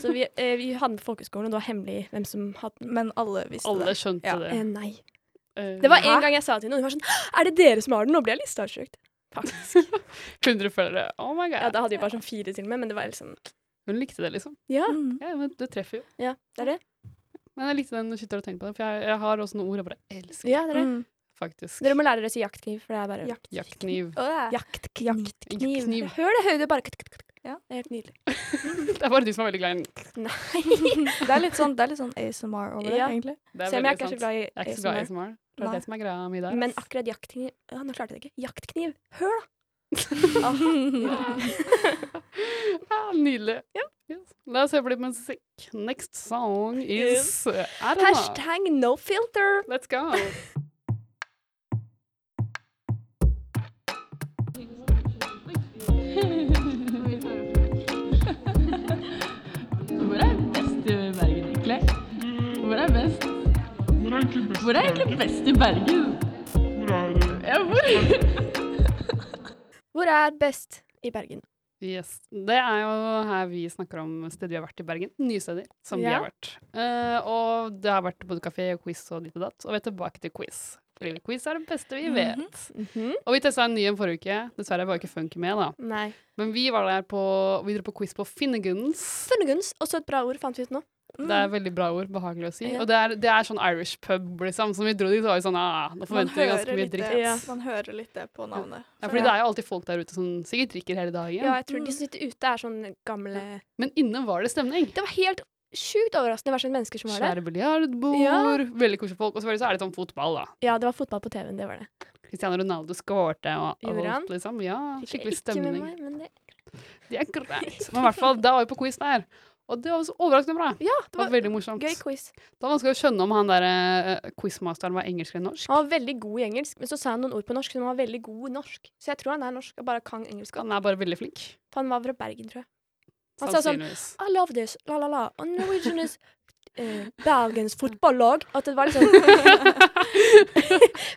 Speaker 3: Så vi, eh, vi hadde den på folkeskolen, og det var hemmelig hvem som hadde den.
Speaker 4: Men alle visste
Speaker 2: Alle
Speaker 4: det.
Speaker 2: skjønte
Speaker 4: Ja.
Speaker 2: det.
Speaker 3: Eh, nei.
Speaker 2: Eh,
Speaker 3: Det var en gang jeg sa til noen, hun var sånn Er det dere som har den? Nå ble jeg litt starstruck. Faktisk.
Speaker 2: 100 følgere. Oh my god.
Speaker 3: Ja, da hadde vi bare sånn fire til og med, men det var liksom
Speaker 2: Hun likte det, liksom.
Speaker 3: Ja.
Speaker 4: Mm.
Speaker 2: Ja, men Det treffer jo.
Speaker 3: Ja, det er det.
Speaker 2: Men jeg likte den skytter og tenker på den, for jeg, jeg har også noen ord jeg bare elsker,
Speaker 3: Ja, det er det.
Speaker 4: Mm.
Speaker 2: faktisk.
Speaker 3: Dere må lære dere å si jaktkniv, for det er bare
Speaker 2: Jaktkniv.
Speaker 4: Åh,
Speaker 3: Jaktkniv.
Speaker 2: Jaktkniv. Jaktkniv.
Speaker 3: Hør det høyde bare kut, kut, kut.
Speaker 4: Ja.
Speaker 3: Det er helt nydelig.
Speaker 2: Det er bare du som er veldig glad i den.
Speaker 4: Det er litt sånn, det er litt sånn ASMR over det,
Speaker 3: Ja.
Speaker 4: egentlig.
Speaker 2: Det er
Speaker 3: Selv om jeg ikke er
Speaker 2: veldig
Speaker 3: så
Speaker 2: sant.
Speaker 3: glad i
Speaker 2: Jeg er ikke så glad i
Speaker 3: ASMR.
Speaker 2: ASMR. Det er
Speaker 4: Nei.
Speaker 2: det som er greia mi der.
Speaker 3: Men
Speaker 2: ass.
Speaker 3: akkurat jaktkniv ja, Nå klarte jeg det ikke. Jaktkniv. Hør, da!
Speaker 2: Ah, nydelig. Yes. La oss høre på litt musikk. Next song is Erna.
Speaker 3: Hashtag no filter.
Speaker 2: Let's go.
Speaker 8: Hvor er best i Bergen, egentlig? Hvor er best? Hvor er egentlig best i Bergen? Ja, hvor?
Speaker 3: Hvor er best i Bergen?
Speaker 2: Yes. Det er jo her vi snakker om steder vi har vært i Bergen. Nye steder som vi
Speaker 3: Ja.
Speaker 2: har vært. Eh, og det har vært både kafé og quiz og ditt og datt. Og vi er tilbake til quiz. Fordi quiz er det beste vi vet.
Speaker 3: Mhm.
Speaker 2: Og vi testa en ny en forrige uke. Dessverre var ikke Funky med, da.
Speaker 3: Nei.
Speaker 2: Men vi var der på Vi dro på quiz på Finneguns.
Speaker 3: Funneguns. Også et bra ord, fant vi ut nå.
Speaker 4: Mm.
Speaker 2: Det er veldig bra ord. Behagelig å si. Og det er, det er sånn Irish pub, liksom. Som vi dro dit, så var vi sånn ah, Nå
Speaker 4: Man
Speaker 2: forventer vi
Speaker 4: hører,
Speaker 2: ganske mye
Speaker 4: litt det,
Speaker 2: dritt.
Speaker 3: Ja.
Speaker 4: man hører litt det på navnet.
Speaker 2: Ja, fordi det er jo alltid folk der ute som sikkert drikker hele dagen.
Speaker 3: Ja, jeg tror de som sitter ute, er sånn gamle
Speaker 2: Men inne var det stemning.
Speaker 3: Det var helt sjukt overraskende hva slags mennesker som var der.
Speaker 2: Svære biljardbord,
Speaker 3: Ja.
Speaker 2: veldig koselige folk. Og selvfølgelig så er det sånn fotball, da.
Speaker 3: Ja, det var fotball på TV-en, det var det.
Speaker 2: Cristiano Ronaldo skårte og, og
Speaker 3: Gjorde han?
Speaker 2: alt, liksom. Ja,
Speaker 3: Fikk jeg Ikke
Speaker 2: skikkelig
Speaker 3: med
Speaker 2: stemning.
Speaker 3: meg, men det,
Speaker 2: Det er greit. Men i hvert fall, da var vi på quiz der. Og det var så overraskende bra.
Speaker 3: ja,
Speaker 2: Det var veldig morsomt.
Speaker 3: gøy quiz.
Speaker 2: Da var det vanskelig å skjønne om han der eh, quizmasteren var engelsk eller norsk.
Speaker 3: Han var veldig god i engelsk, men så sa han noen ord på norsk, så han var veldig god i norsk. Så jeg tror han er norsk og bare kan engelsk.
Speaker 2: Han er bare veldig flink.
Speaker 3: For han var fra Bergen, tror jeg. Han sa sånn
Speaker 2: Sannsynligvis.
Speaker 3: I love this, la la la, and Norwegian is eh, Bergens fotballag. At det var litt sånn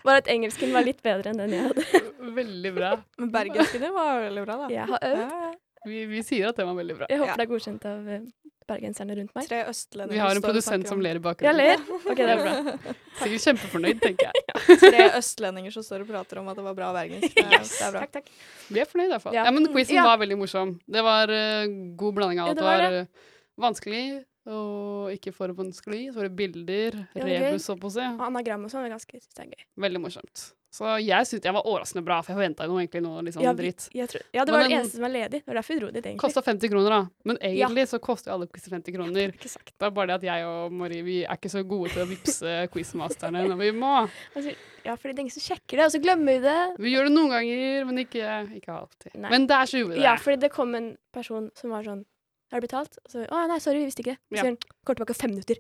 Speaker 3: Bare at engelsken var litt bedre enn den jeg hadde.
Speaker 2: Veldig bra.
Speaker 4: Men bergensken din var veldig bra, da.
Speaker 3: Jeg har øvd.
Speaker 4: Ja, ja.
Speaker 2: Vi, vi sier at den var veldig bra.
Speaker 3: Jeg håper
Speaker 4: Ja.
Speaker 3: det er godkjent av eh, bergenserne rundt meg.
Speaker 4: Tre østlendinger
Speaker 2: Vi har en
Speaker 4: står og
Speaker 2: produsent
Speaker 4: snakker
Speaker 2: som
Speaker 4: om-
Speaker 2: ler i
Speaker 3: Jeg
Speaker 2: bakgrunnen.
Speaker 3: ler. OK, det er bra.
Speaker 2: Sikkert kjempefornøyd, tenker jeg.
Speaker 4: Tre østlendinger som står og prater om at det var bra bergensk. Det, er- det er bra.
Speaker 3: Takk, takk.
Speaker 2: Vi er fornøyd i hvert fall.
Speaker 3: Ja.
Speaker 2: Ja, men quizen
Speaker 3: Ja.
Speaker 2: var veldig morsom. Det var eh, god blanding av
Speaker 3: Ja,
Speaker 2: at
Speaker 3: det
Speaker 2: det
Speaker 3: var
Speaker 2: var eh, vanskelig og ikke for vanskelig. Så var det bilder,
Speaker 3: Ja, det var
Speaker 2: rebus, så på å si.
Speaker 3: Og anagram og sånn er ganske synes jeg er gøy.
Speaker 2: Veldig morsomt. Så jeg syntes jeg var overraskende bra, for jeg forventa jo noe egentlig noe litt sånn
Speaker 3: Ja, vi-
Speaker 2: dritt.
Speaker 3: jeg tror, ja, det
Speaker 2: Men
Speaker 3: var det
Speaker 2: den-
Speaker 3: eneste som var ledig. Det var derfor vi dro dit, egentlig.
Speaker 2: Kosta 50 kroner, da. Men
Speaker 3: Ja.
Speaker 2: egentlig så koster jo alle quizer 50 kroner.
Speaker 3: Ikke sagt.
Speaker 2: Det er bare det at jeg og Marie vi er ikke så gode til å vippse quizmasterne når vi må.
Speaker 3: Altså, ja, fordi det er ingen som sjekker det, og så glemmer vi det.
Speaker 2: Vi gjør det noen ganger, men ikke, ikke alltid.
Speaker 3: Nei.
Speaker 2: Men der så gjorde vi det.
Speaker 3: Ja, fordi det kom en person som var sånn Har du betalt? Og så Å nei, sorry, vi visste ikke det. Og
Speaker 2: Ja.
Speaker 3: Så sier han Kom tilbake om fem minutter.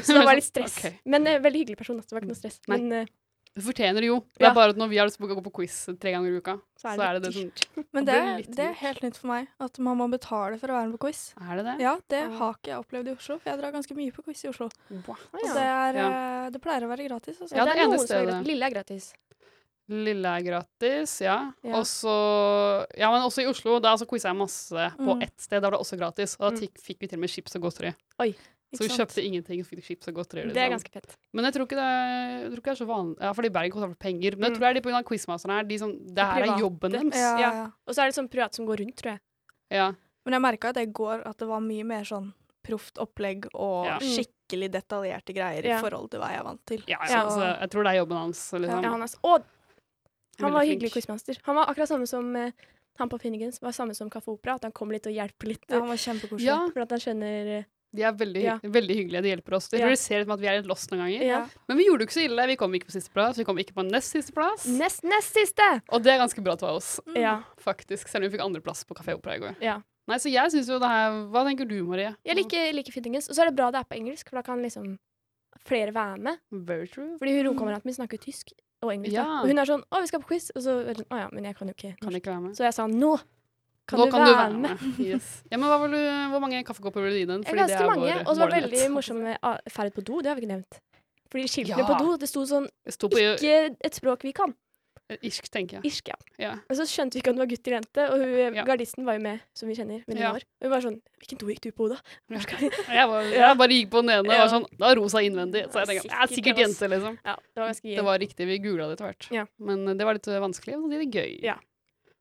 Speaker 3: Så det var litt stress.
Speaker 2: Ok.
Speaker 3: Men eh, veldig hyggelig person. da, så Det var ikke noe stress.
Speaker 2: Nei.
Speaker 3: Men eh,
Speaker 2: Du fortjener det jo. Det
Speaker 3: Ja.
Speaker 2: er bare at når vi har lyst til å gå på quiz tre ganger i uka,
Speaker 3: så er det,
Speaker 2: så er det det
Speaker 3: dyrt.
Speaker 2: som
Speaker 4: Men
Speaker 2: Det
Speaker 4: det,
Speaker 2: blir litt
Speaker 4: det er
Speaker 2: dyrt.
Speaker 4: helt nytt for meg at man må betale for å være med på quiz.
Speaker 2: Er det det?
Speaker 4: Ja, det har ikke jeg opplevd i Oslo, for jeg drar ganske mye på quiz i Oslo.
Speaker 2: Wow.
Speaker 4: Og det, er, eh, det pleier å være gratis. Altså.
Speaker 2: Ja,
Speaker 3: det,
Speaker 2: det
Speaker 3: er
Speaker 2: ene
Speaker 3: noen som er
Speaker 2: stedet.
Speaker 3: gratis. Lille er gratis.
Speaker 2: Lille er gratis, ja.
Speaker 3: Ja.
Speaker 2: Og så Ja, men også i Oslo. Da altså, quiza jeg masse på
Speaker 4: Mm.
Speaker 2: ett sted. Da var det også gratis. Og da
Speaker 3: Mm.
Speaker 2: tikk- fikk vi til og med chips og godteri. Så
Speaker 4: Ikke
Speaker 2: vi
Speaker 4: sant?
Speaker 2: kjøpte ingenting, så fikk vi chips og godteri.
Speaker 3: Det er
Speaker 2: liksom.
Speaker 3: ganske fett.
Speaker 2: Men jeg tror ikke det er, jeg tror ikke det er så vanlig Ja, fordi Bergen koster for penger. Men jeg
Speaker 3: Mm.
Speaker 2: tror det er de på grunn av quizmasterne her. De som, det her
Speaker 3: private.
Speaker 2: er jobben deres.
Speaker 4: ja,
Speaker 3: Ja.
Speaker 4: ja.
Speaker 3: Og så er det sånn privat som går rundt, tror jeg.
Speaker 2: Ja.
Speaker 4: Men jeg merka at i går at det var mye mer sånn proft opplegg og
Speaker 2: Ja. Mm.
Speaker 4: skikkelig detaljerte greier
Speaker 3: Ja.
Speaker 4: i forhold til hva jeg er vant til.
Speaker 2: Ja, ja,
Speaker 3: Ja.
Speaker 2: Altså, jeg tror det er jobben hans. Liksom.
Speaker 3: Ja, han, er, s- å, han
Speaker 2: Veldig
Speaker 3: var
Speaker 2: flink.
Speaker 3: hyggelig quizmaster. Han var akkurat samme som eh, han på Finnegans var samme som Kaffe Opera, at han kom litt og hjalp litt.
Speaker 4: Ja, han var kjempekoselig.
Speaker 2: Ja,
Speaker 3: For at han skjønner eh,
Speaker 2: de er veldig, hy-
Speaker 3: Ja.
Speaker 2: veldig hyggelige. De hjelper oss. Jeg
Speaker 3: Ja.
Speaker 2: tror de ser ut som at vi er litt lost noen ganger.
Speaker 3: ja.
Speaker 2: Men vi gjorde det ikke så ille. Vi kom ikke på siste plass. Vi kom ikke på nest siste plass.
Speaker 3: Nest, nest siste!
Speaker 2: Og det er ganske bra til oss,
Speaker 3: Ja.
Speaker 2: faktisk. Selv om vi fikk andreplass på Kafé Opera i går.
Speaker 3: Ja.
Speaker 2: Nei, så jeg synes jo det her Hva tenker du, Marie?
Speaker 3: Jeg liker, liker Finnegans. Og så er det bra det er på engelsk, for da kan liksom flere være med.
Speaker 2: Very true.
Speaker 3: Fordi hun romkameraten min snakker tysk og engelsk. da.
Speaker 2: Mm. Ja.
Speaker 3: Og hun er sånn 'Å, vi skal på quiz.' Og så er det sånn 'Å ja, men jeg kan jo ikke
Speaker 2: Kan
Speaker 3: norsk.'
Speaker 2: ikke være med.
Speaker 3: Så jeg sa 'Nå kan,
Speaker 2: Nå
Speaker 3: du,
Speaker 2: kan
Speaker 3: være
Speaker 2: du være
Speaker 3: med'.
Speaker 2: med. Yes. Ja, men hva vil du, hvor mange kaffekopper vil du gi den?
Speaker 3: Det er
Speaker 2: Fordi
Speaker 3: ganske
Speaker 2: vår
Speaker 3: mange. Og så var det
Speaker 2: målenhet.
Speaker 3: veldig morsomt med ah, ferd på do. Det har vi ikke nevnt. Fordi skiltene
Speaker 2: Ja.
Speaker 3: på do, det sto sånn
Speaker 2: Jeg sto på eh,
Speaker 3: 'Ikke et språk vi kan'.
Speaker 2: irsk, tenker jeg.
Speaker 3: Irsk, ja.
Speaker 2: Ja.
Speaker 3: Og så skjønte vi ikke om det var gutt eller jente, og hun, eh,
Speaker 2: Ja.
Speaker 3: gardisten var jo med, som vi kjenner. Men hun
Speaker 2: Ja.
Speaker 3: var. Og hun var sånn 'Hvilken do gikk du på, Oda?'
Speaker 2: Jeg, var, jeg bare gikk på den ene og var sånn Det var rosa innvendig. Så
Speaker 3: Det er
Speaker 2: jeg tenkte det er
Speaker 3: sikkert
Speaker 2: sikkert jente, liksom.
Speaker 3: Ja, det var ganske
Speaker 2: Det var riktig. Vi googla det etter hvert.
Speaker 3: Ja.
Speaker 2: Men eh, det var litt eh, vanskelig, og det er gøy.
Speaker 3: Ja.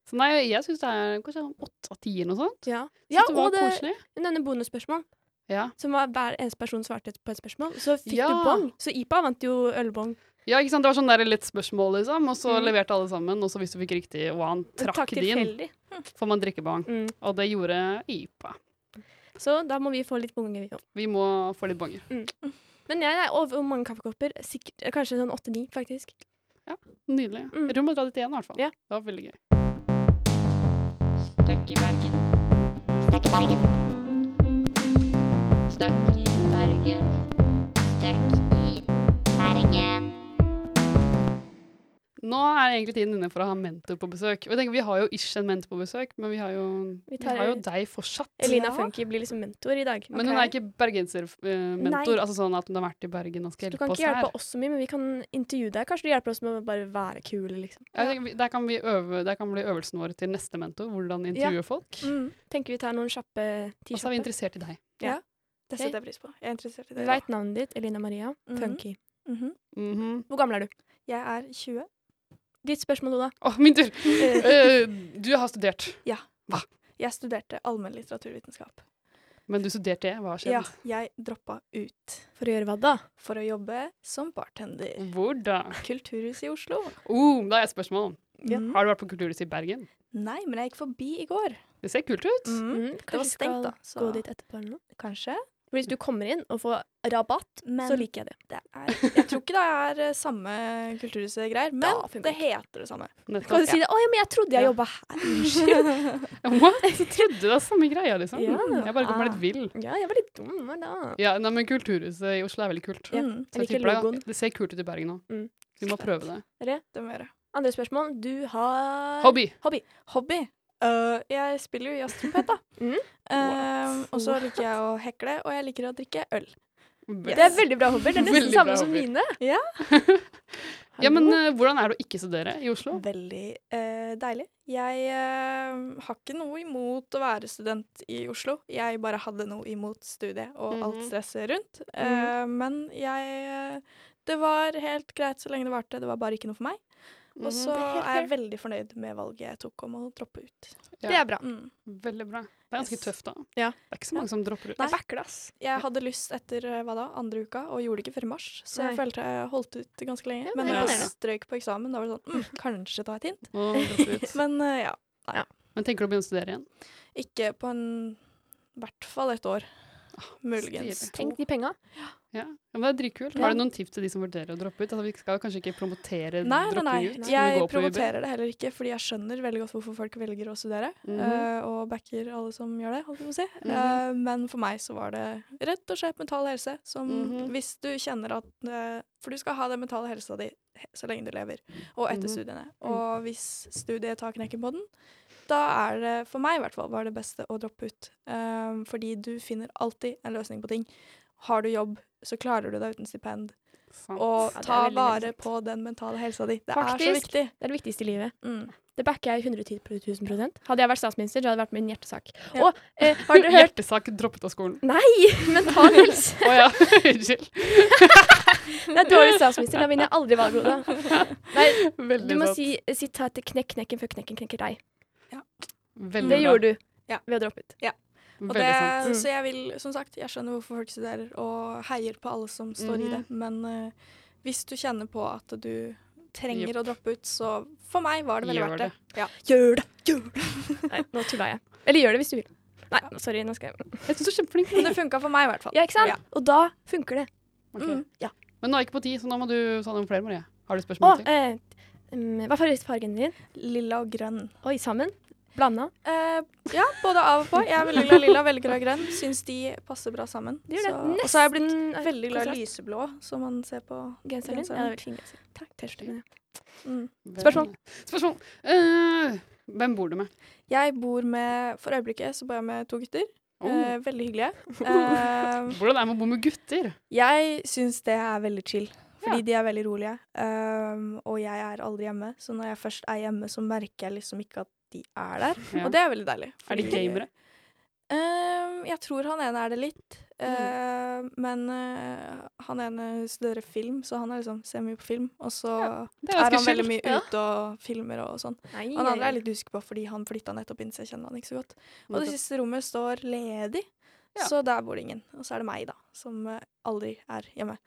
Speaker 2: Så nei, jeg syns det er kanskje sånn åtte av ti eller noe sånt.
Speaker 3: Ja,
Speaker 2: Synes
Speaker 3: ja og
Speaker 2: det var
Speaker 3: det,
Speaker 2: koselig.
Speaker 3: hun nevner bonusspørsmål.
Speaker 2: Ja.
Speaker 3: Som var hver eneste person svarte på et spørsmål. Så fikk
Speaker 2: Ja.
Speaker 3: du bong. Så IPA vant jo ølbong.
Speaker 2: ja, ikke sant. Det var sånn der lett spørsmål, liksom, og så
Speaker 3: Mm.
Speaker 2: leverte alle sammen. Og så hvis du fikk riktig, og han trakk
Speaker 3: Takk
Speaker 2: din,
Speaker 3: tilfeldig.
Speaker 2: får man drikkebang.
Speaker 3: Mm.
Speaker 2: Og det gjorde IPA.
Speaker 3: Så da må vi få litt bonger, vi òg.
Speaker 2: Vi må få litt banger.
Speaker 3: Men jeg er over hvor mange kaffekopper. Sikkert, kanskje sånn åtte-ni, faktisk.
Speaker 2: Nydelig.
Speaker 3: Mm.
Speaker 2: Jeg tror man drar dit igjen, i hvert fall.
Speaker 3: Ja.
Speaker 2: Det var veldig gøy.
Speaker 7: Støkk i Bergen. Støkk i Bergen. Støkk i Bergen. Støkk i Bergen.
Speaker 2: Nå er egentlig tiden inne for å ha mentor på besøk. Og jeg tenker, Vi har jo ikke en mentor på besøk, men vi har jo,
Speaker 3: Vi
Speaker 2: vi
Speaker 3: tar-
Speaker 2: har jo deg fortsatt.
Speaker 3: Elina Funky blir liksom mentor i dag.
Speaker 2: Men hun er ikke bergensermentor,
Speaker 3: Nei.
Speaker 2: altså sånn at hun har vært i Bergen og skal
Speaker 3: du kan
Speaker 2: hjelpe oss
Speaker 3: ikke hjelpe
Speaker 2: her.
Speaker 3: oss så mye, men vi kan intervjue deg. Kanskje du hjelper oss med å bare være kule, liksom.
Speaker 2: Jeg tenker, vi- der, kan vi øve, der kan bli øvelsen vår til neste mentor, hvordan intervjue folk.
Speaker 4: Mm,
Speaker 3: Tenker vi tar noen kjappe
Speaker 2: Og så er vi
Speaker 3: T-skjorter.
Speaker 2: interessert i deg.
Speaker 4: det setter jeg pris på. Jeg er interessert i
Speaker 3: Vi
Speaker 4: det.
Speaker 3: veit navnet ditt. Elina Maria
Speaker 4: Mhm.
Speaker 3: Funky. Mm-hmm.
Speaker 4: Mhm.
Speaker 2: Mhm.
Speaker 3: Hvor gammel er du?
Speaker 4: Jeg er 20.
Speaker 3: Ditt spørsmål, Oda.
Speaker 2: Å, min tur!
Speaker 3: Eh,
Speaker 2: Eh, du har studert.
Speaker 4: Jeg studerte allmenn litteraturvitenskap.
Speaker 2: Men du studerte det? Hva har
Speaker 4: Ja,
Speaker 2: skjedd?
Speaker 4: jeg droppa ut
Speaker 3: For å gjøre hva da?
Speaker 4: for å jobbe som bartender.
Speaker 3: Mm.
Speaker 2: Hvor da?
Speaker 4: Kulturhuset i Oslo.
Speaker 2: Oh, da har jeg et spørsmål.
Speaker 4: Mm.
Speaker 2: Har du vært på kulturhuset i Bergen?
Speaker 4: Nei, men jeg gikk forbi i går.
Speaker 2: Det ser kult ut.
Speaker 3: Mm,
Speaker 4: Det var stengt, da.
Speaker 3: Så. Gå
Speaker 4: Så
Speaker 3: dit etterpå eller noe.
Speaker 4: kanskje.
Speaker 3: Hvis du kommer inn og får rabatt,
Speaker 4: Men
Speaker 3: så liker jeg det.
Speaker 4: det er, jeg tror ikke det er eh, samme kulturhuset-greier, men
Speaker 3: Da funker
Speaker 4: det heter det samme.
Speaker 3: Kan
Speaker 2: Nettopp.
Speaker 3: du si det? 'Å ja, men jeg trodde jeg
Speaker 2: Ja.
Speaker 3: jobba her'. Unnskyld.
Speaker 2: What? Så trodde du det var samme greia, liksom?
Speaker 3: Ja.
Speaker 2: Jeg bare går meg litt vill.
Speaker 3: ja, jeg var litt dum, hva da?
Speaker 2: Ja, nei, men Kulturhuset i Oslo er veldig kult.
Speaker 3: Ja.
Speaker 4: Mm,
Speaker 2: Så
Speaker 3: Jeg
Speaker 2: jeg
Speaker 3: liker
Speaker 2: tipper det-
Speaker 3: logoen.
Speaker 2: Det ser kult ut i Bergen òg.
Speaker 3: Mm.
Speaker 2: Du må prøve det.
Speaker 4: det må jeg gjøre.
Speaker 3: Andre spørsmål. Du har
Speaker 2: Hobby.
Speaker 4: Hobby. Øh, jeg spiller jo jazztrompet, da.
Speaker 3: Mm.
Speaker 4: Ehm, og så liker jeg å hekle, og jeg liker å drikke øl.
Speaker 3: Det er veldig bra hobbyer. Det er nesten
Speaker 2: Veldig bra
Speaker 3: samme som
Speaker 2: hobbyer.
Speaker 3: mine.
Speaker 2: Ja, men eh, hvordan er det å ikke studere i
Speaker 4: Mm.
Speaker 2: Oslo?
Speaker 4: Veldig eh, deilig. Jeg eh, har ikke noe imot å være student i Oslo. Jeg bare hadde noe imot studiet og alt
Speaker 2: Mhm.
Speaker 4: stresset rundt. Eh, men jeg eh, Det var helt greit så lenge det varte. Det var bare ikke noe for meg. Og så
Speaker 3: Det er helt
Speaker 4: er jeg veldig fornøyd med valget jeg tok om å droppe ut.
Speaker 2: Ja.
Speaker 3: Det er bra.
Speaker 4: Mm.
Speaker 2: Veldig bra. Det er ganske
Speaker 4: Yes.
Speaker 2: tøft, da.
Speaker 4: Ja.
Speaker 2: Det er ikke så mange som dropper ut.
Speaker 4: Nei.
Speaker 3: Jeg backer det, ass.
Speaker 4: Jeg hadde lyst etter eh, hva da, andre uka, og gjorde det ikke før i mars. Så jeg
Speaker 3: Nei.
Speaker 4: følte jeg holdt ut ganske lenge.
Speaker 3: Ja,
Speaker 4: men
Speaker 3: det
Speaker 4: når
Speaker 2: er
Speaker 4: jeg
Speaker 2: imponerende.
Speaker 4: strøk på eksamen, da var det sånn mm, Kanskje ta et hint.
Speaker 2: Å droppe ut.
Speaker 4: Men eh, ja,
Speaker 2: Men tenker du å begynne å studere igjen?
Speaker 4: ikke på en I hvert fall et år. Muligens.
Speaker 2: stilig.
Speaker 3: Tenk de penga.
Speaker 2: Ja. ja, men Det er dritkult. Har du noen tips til de som vurderer å droppe ut? Altså, vi skal jo kanskje ikke promotere
Speaker 4: Nei, nei,
Speaker 2: dropping ut.
Speaker 4: nei.
Speaker 2: men gå
Speaker 4: Jeg
Speaker 2: på UiB.
Speaker 4: promoterer det heller ikke, fordi jeg skjønner veldig godt hvorfor folk velger å studere,
Speaker 2: Mhm.
Speaker 4: eh, og backer alle som gjør det, holdt jeg på å si.
Speaker 2: Mhm.
Speaker 4: Eh, men for meg så var det rett og slett mental helse, som
Speaker 2: Mhm.
Speaker 4: hvis du kjenner at eh, For du skal ha den mentale helsa di he- så lenge du lever, og etter
Speaker 2: Mhm.
Speaker 4: studiene. Og hvis studiet tar knekken på den, da er det, for meg i hvert fall, var det beste å droppe ut. Eh, fordi du finner alltid en løsning på ting. Har du jobb, så klarer du deg uten stipend.
Speaker 2: Sant.
Speaker 4: Og
Speaker 3: Ja, det er
Speaker 4: ta
Speaker 3: veldig
Speaker 4: vare
Speaker 3: sant.
Speaker 4: på den mentale helsa di. Det er så
Speaker 3: Faktisk.
Speaker 4: viktig.
Speaker 3: Det er det viktigste i livet.
Speaker 4: Mm.
Speaker 3: Det backer jeg 110 000 Hadde jeg vært statsminister, så hadde det vært min hjertesak.
Speaker 4: Ja.
Speaker 3: Og eh, har dere hørt
Speaker 2: Hjertesak droppet av skolen.
Speaker 3: Nei! Mental helse.
Speaker 2: Å ja, unnskyld.
Speaker 3: Det er dårlig statsminister. Da vinner jeg aldri valgrådet. Nei,
Speaker 2: Veldig
Speaker 3: du må
Speaker 2: sant.
Speaker 3: si, eh, si ta etter knekk knekken før knekken knekker deg.
Speaker 2: Veldig
Speaker 3: Det
Speaker 2: bra.
Speaker 3: gjorde du.
Speaker 4: Ja.
Speaker 3: Ved å droppe ut.
Speaker 4: Og
Speaker 2: Veldig
Speaker 4: det,
Speaker 2: sant.
Speaker 3: Mm.
Speaker 4: Så jeg vil, som sagt, jeg skjønner hvorfor folk studerer og heier på alle som står i det, men eh, hvis du kjenner på at du trenger
Speaker 2: Jepp.
Speaker 4: å droppe ut, så for meg var det veldig
Speaker 2: Gjør
Speaker 4: verdt det. Ja.
Speaker 3: Gjør det! Gjør det! Nei, nå tulla jeg. Eller gjør det hvis du vil. Nei, sorry. Nå skal jeg
Speaker 2: Jeg syns du er kjempeflink.
Speaker 4: Men det funka for meg i hvert fall.
Speaker 3: Ja, ikke sant?
Speaker 4: Ja.
Speaker 3: Og da funker det.
Speaker 2: Ok.
Speaker 3: Mm, ja.
Speaker 2: Men nå er jeg ikke på ti, så nå må du ta noen flere, Marie. Har du
Speaker 3: Å,
Speaker 2: spørsmål til?
Speaker 3: eh, mm, hva er favorittfargen din?
Speaker 4: Lilla og grønn.
Speaker 3: Oi, sammen? Blanda?
Speaker 4: Eh, ja, både av og på. Jeg er veldig glad i lilla, veldig glad i grønn. Syns de passer bra sammen.
Speaker 3: Det gjør det.
Speaker 4: Så,
Speaker 3: Nesten
Speaker 4: og så er jeg blitt veldig glad
Speaker 3: kontrast.
Speaker 4: i lyseblå, som man ser på
Speaker 3: Genseren din? Ja, det er veldig fin genser. Takk. T-skjorte, mener jeg.
Speaker 4: mm.
Speaker 3: spørsmål.
Speaker 2: Eh, Spørsmål. Eh, hvem bor du med?
Speaker 4: Jeg bor med For øyeblikket så bor jeg med to gutter.
Speaker 2: Oh,
Speaker 4: Eh, veldig hyggelige. Eh,
Speaker 2: hvordan er det med å bo med gutter?
Speaker 4: Jeg syns det er veldig chill, fordi de er veldig rolige. Um, og jeg er aldri hjemme, så når jeg først er hjemme, så merker jeg liksom ikke at de er der.
Speaker 2: Ja.
Speaker 4: Og det er veldig deilig.
Speaker 2: Er de
Speaker 4: fordi-
Speaker 2: gamere?
Speaker 4: Um, jeg tror han ene er det litt.
Speaker 2: Mm.
Speaker 4: Uh, men uh, han ene studerer film, så han er liksom, ser mye på film. Og så
Speaker 2: Det
Speaker 4: er
Speaker 2: ganske
Speaker 4: han veldig
Speaker 2: chill.
Speaker 4: mye
Speaker 3: Ja.
Speaker 4: ute og filmer og sånn.
Speaker 3: Nei,
Speaker 4: Han
Speaker 3: ja,
Speaker 4: andre er
Speaker 3: ja.
Speaker 4: jeg litt usikker på, fordi han flytta nettopp inn, så jeg kjenner han ikke så godt. Og det
Speaker 2: Nettopp.
Speaker 4: siste rommet står ledig,
Speaker 2: Ja.
Speaker 4: så der bor det ingen. Og så er det meg, da, som eh, aldri er hjemme.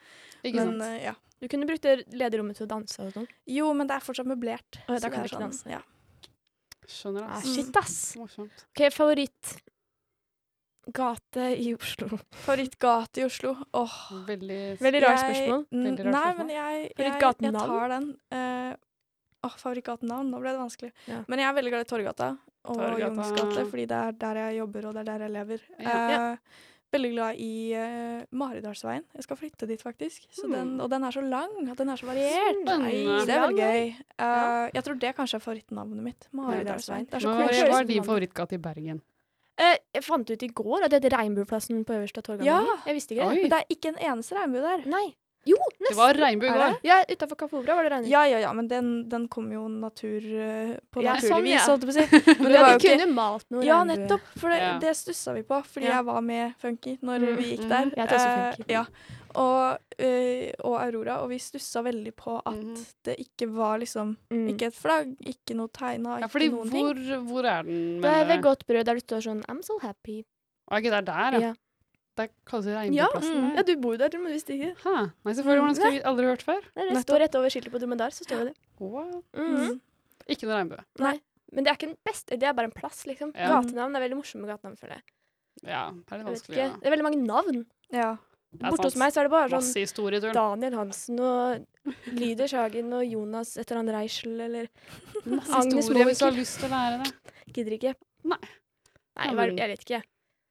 Speaker 2: Ikke
Speaker 4: men
Speaker 2: sant.
Speaker 4: eh, ja.
Speaker 3: Du kunne brukt det lederommet til å danse og sånn.
Speaker 4: Jo, men det er fortsatt møblert.
Speaker 3: Å, ja,
Speaker 4: så
Speaker 3: da kan
Speaker 4: det
Speaker 3: du
Speaker 4: er sånn,
Speaker 3: ikke danse.
Speaker 4: Ja.
Speaker 2: Skjønner
Speaker 3: Ah,
Speaker 2: det.
Speaker 3: shit, ass.
Speaker 2: Morsomt.
Speaker 3: OK, favoritt gate i Oslo.
Speaker 4: Favorittgate i Oslo. Åh.
Speaker 2: Veldig
Speaker 3: Veldig rart
Speaker 4: Jeg-
Speaker 3: spørsmål.
Speaker 4: N-
Speaker 2: Veldig rart
Speaker 4: Nei,
Speaker 2: spørsmål.
Speaker 4: men jeg, jeg, jeg,
Speaker 3: Favorittgatenavn?
Speaker 4: tar den. Eh, åh, favorittgatenavn? Nå ble det vanskelig.
Speaker 3: Ja.
Speaker 4: Men jeg er veldig glad i Torgata og
Speaker 2: Torggata.
Speaker 4: Jungs gate, fordi det er der jeg jobber, og det er der jeg lever.
Speaker 2: Ja.
Speaker 4: Eh, Veldig glad i eh, Maridalsveien. Jeg skal flytte dit, faktisk. Så
Speaker 2: Hmm.
Speaker 4: den,
Speaker 3: Mm.
Speaker 4: og den er så lang, og den er så variert.
Speaker 2: Spennende.
Speaker 4: Nei, det er
Speaker 3: Lang,
Speaker 4: veldig gøy. Eh, jeg tror det kanskje er favorittnavnet mitt. Maridalsveien. Det er så
Speaker 3: koselig.
Speaker 2: Men Marie, hva er
Speaker 4: koselig.
Speaker 2: din favorittgate i Bergen?
Speaker 3: Eh, jeg fant ut i går at det heter Regnbueplassen på øverste torg.
Speaker 4: Ja.
Speaker 3: Jeg visste ikke det.
Speaker 2: Oi,
Speaker 4: Men det er ikke en eneste regnbue der.
Speaker 3: Nei. Jo,
Speaker 2: det
Speaker 3: nesten.
Speaker 2: var regnbue i
Speaker 4: Er
Speaker 2: går.
Speaker 3: Ja, utafor Kafobra var det regnbue.
Speaker 4: Ja, ja, ja, men den, den kom jo natur, eh, på
Speaker 3: Ja,
Speaker 4: naturlig
Speaker 3: sånn,
Speaker 4: vis,
Speaker 3: ja.
Speaker 4: holdt jeg på å si. Men det var jo ikke
Speaker 3: kunne malt noe
Speaker 4: Ja,
Speaker 3: regnbue.
Speaker 4: nettopp, for det,
Speaker 2: Ja.
Speaker 4: det stussa vi på, fordi
Speaker 3: Ja.
Speaker 4: jeg var med Funky når
Speaker 3: Mm,
Speaker 4: vi gikk
Speaker 2: mhm.
Speaker 4: der.
Speaker 3: Jeg heter også
Speaker 4: Eh,
Speaker 3: Funky.
Speaker 4: ja. og, eh, og Aurora, og vi stussa veldig på at
Speaker 2: Mhm.
Speaker 4: det ikke var liksom
Speaker 3: Mm.
Speaker 4: Ikke et flagg, ikke noe tegna,
Speaker 2: Ja,
Speaker 4: ikke
Speaker 2: fordi
Speaker 4: noen ting.
Speaker 2: hvor, hvor er den?
Speaker 3: Det er
Speaker 2: mener
Speaker 3: ved
Speaker 2: du?
Speaker 3: godt brød der det står sånn I'm so happy.
Speaker 2: Ok, det er der, ja.
Speaker 3: Ja.
Speaker 2: Det kalles det
Speaker 3: Ja,
Speaker 2: regnbueplassen.
Speaker 4: Mm.
Speaker 3: ja, du Mm, bor jo der, men visste ikke.
Speaker 2: Hæ? Nei, selvfølgelig. Hvordan skulle vi aldri hørt før?
Speaker 3: Nei, det
Speaker 4: Nettopp.
Speaker 3: står rett over skiltet på Dromedar, så står det det.
Speaker 2: What?
Speaker 3: Mm.
Speaker 2: Ikke noe regnbue.
Speaker 3: Men det er ikke den beste, det er bare en plass, liksom.
Speaker 2: Ja.
Speaker 3: Gatenavn det er veldig morsomme gatenavn, føler jeg.
Speaker 2: Ja, det er litt
Speaker 3: jeg vet
Speaker 2: vanskelig.
Speaker 3: ikke.
Speaker 2: Ja.
Speaker 3: Det er veldig mange navn.
Speaker 4: Ja.
Speaker 2: Det er
Speaker 3: Borte hos
Speaker 2: sant.
Speaker 3: meg så er det bare sånn
Speaker 2: Masse historie, Turen.
Speaker 3: Daniel Hansen og Lyder Sagen og Jonas et eller annet Reichel eller
Speaker 2: Masse
Speaker 3: Agnes
Speaker 2: historie hvis du har
Speaker 3: Mowinckel.
Speaker 2: lyst til å lære det.
Speaker 3: Gidder ikke.
Speaker 2: Nei.
Speaker 3: Nei,
Speaker 2: Ja,
Speaker 3: hva-
Speaker 2: men-
Speaker 3: jeg vet ikke.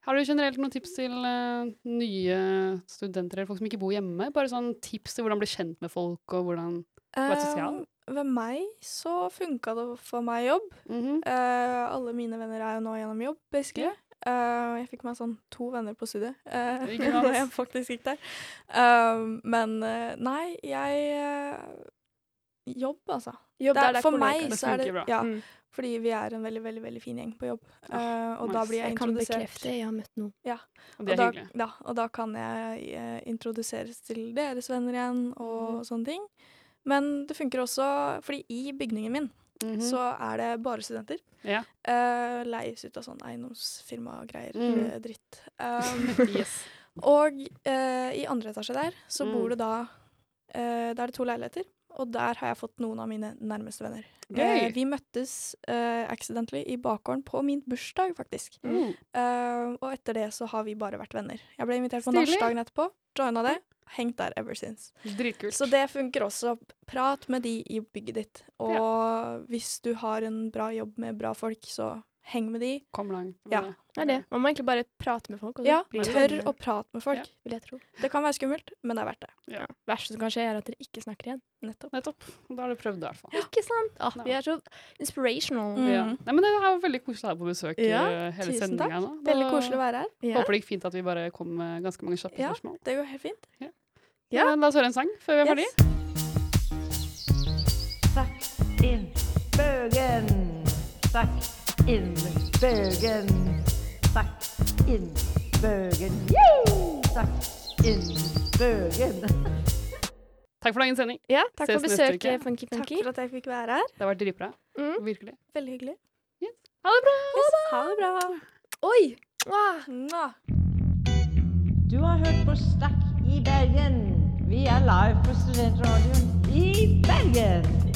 Speaker 2: Har du generelt noen tips til eh, nye studenter eller folk som ikke bor hjemme? Bare sånn tips til hvordan bli kjent med folk og hvordan Vær sosial.
Speaker 4: Um, ved meg så funka det for meg jobb.
Speaker 2: Mhm.
Speaker 4: Eh, alle mine venner er jo nå gjennom jobb, basically. Eh, jeg fikk meg sånn to venner på studiet eh,
Speaker 2: Ikke sant?
Speaker 4: da jeg faktisk gikk der. Eh, men eh, nei, jeg eh, Jobb, altså.
Speaker 3: Jobb
Speaker 4: Det
Speaker 3: der
Speaker 4: er,
Speaker 3: det er
Speaker 4: for
Speaker 3: kollegaer.
Speaker 4: meg
Speaker 2: Det
Speaker 4: så er
Speaker 2: funker bra.
Speaker 4: det ja,
Speaker 3: Mm.
Speaker 4: Fordi vi er en veldig, veldig veldig fin gjeng på jobb. Eh, og
Speaker 2: nice.
Speaker 4: da blir jeg
Speaker 3: Jeg kan
Speaker 4: introdusert.
Speaker 3: bekrefte, jeg har møtt noen.
Speaker 2: Og
Speaker 4: Og
Speaker 2: det er
Speaker 4: da,
Speaker 2: hyggelig.
Speaker 4: ja, og da kan jeg eh, introduseres til deres venner igjen og sånne ting. Men det funker også fordi i bygningen min
Speaker 2: Mhm.
Speaker 4: så er det bare studenter.
Speaker 2: Ja.
Speaker 4: Eh, leies ut av sånn eiendomsfirma og greier.
Speaker 2: Mm.
Speaker 4: eh, dritt. Um,
Speaker 2: yes.
Speaker 4: og eh, i andre etasje der så
Speaker 2: Mm.
Speaker 4: bor det da eh, Der er det to leiligheter, og der har jeg fått noen av mine nærmeste venner. Eh,
Speaker 2: Gøy!
Speaker 4: vi møttes eh, accidentally i bakgården på min bursdag, faktisk.
Speaker 2: Mm.
Speaker 4: Eh, og etter det så har vi bare vært venner. Jeg ble invitert på
Speaker 2: Stilig.
Speaker 4: nachdagen etterpå, joina det. Hengt der ever since.
Speaker 2: Dritkult.
Speaker 4: Så det funker også. Prat med de i bygget ditt. Og hvis du har en bra jobb med bra folk, så heng med de.
Speaker 2: Kom langt.
Speaker 4: Ja.
Speaker 3: Det er det. Man må egentlig bare prate med folk, og så
Speaker 4: Ja,
Speaker 3: blir det
Speaker 4: tør
Speaker 3: venner,
Speaker 4: å prate med folk.
Speaker 3: vil jeg tro.
Speaker 4: Det kan være skummelt, men det er verdt det.
Speaker 3: Det verste som kan skje, er at dere ikke snakker igjen.
Speaker 4: Nettopp.
Speaker 2: Nettopp. Da har du prøvd det, i hvert fall.
Speaker 3: Ikke sant? Ah,
Speaker 2: Nei.
Speaker 3: vi er så inspirational.
Speaker 4: Mm.
Speaker 2: Ja. Nei, men det er jo veldig koselig å ha deg på besøk
Speaker 3: Ja,
Speaker 2: eh, hele
Speaker 4: tusen
Speaker 2: sendinga
Speaker 4: takk.
Speaker 2: nå. Da
Speaker 4: Veldig koselig å være her.
Speaker 3: Ja.
Speaker 2: Håper det gikk fint at vi bare kom med ganske mange kjappe
Speaker 4: Ja.
Speaker 2: spørsmål.
Speaker 4: Det går helt fint.
Speaker 2: Ja. eh,
Speaker 3: Ja.
Speaker 2: la oss høre en sang før vi er ferdige.
Speaker 3: Yes.
Speaker 7: Sakk inn bøgen. Sakk inn bøgen. Sakk inn bøgen. Yoo! Sakk inn bøgen.
Speaker 2: Takk for dagens sending.
Speaker 3: Ja, takk
Speaker 2: Ses
Speaker 3: for
Speaker 2: neste uke.
Speaker 3: besøket, Funky
Speaker 4: Takk
Speaker 3: Funky.
Speaker 4: for at jeg fikk være her.
Speaker 2: Det har vært dritbra.
Speaker 3: Mm.
Speaker 2: Virkelig.
Speaker 4: Veldig hyggelig.
Speaker 2: Ha det bra!
Speaker 4: Ha det bra.
Speaker 3: Oi! Wow.
Speaker 4: Mwah.
Speaker 7: Du har hørt på Stakk i Bergen. Vi er live på Studentradioen i Bergen.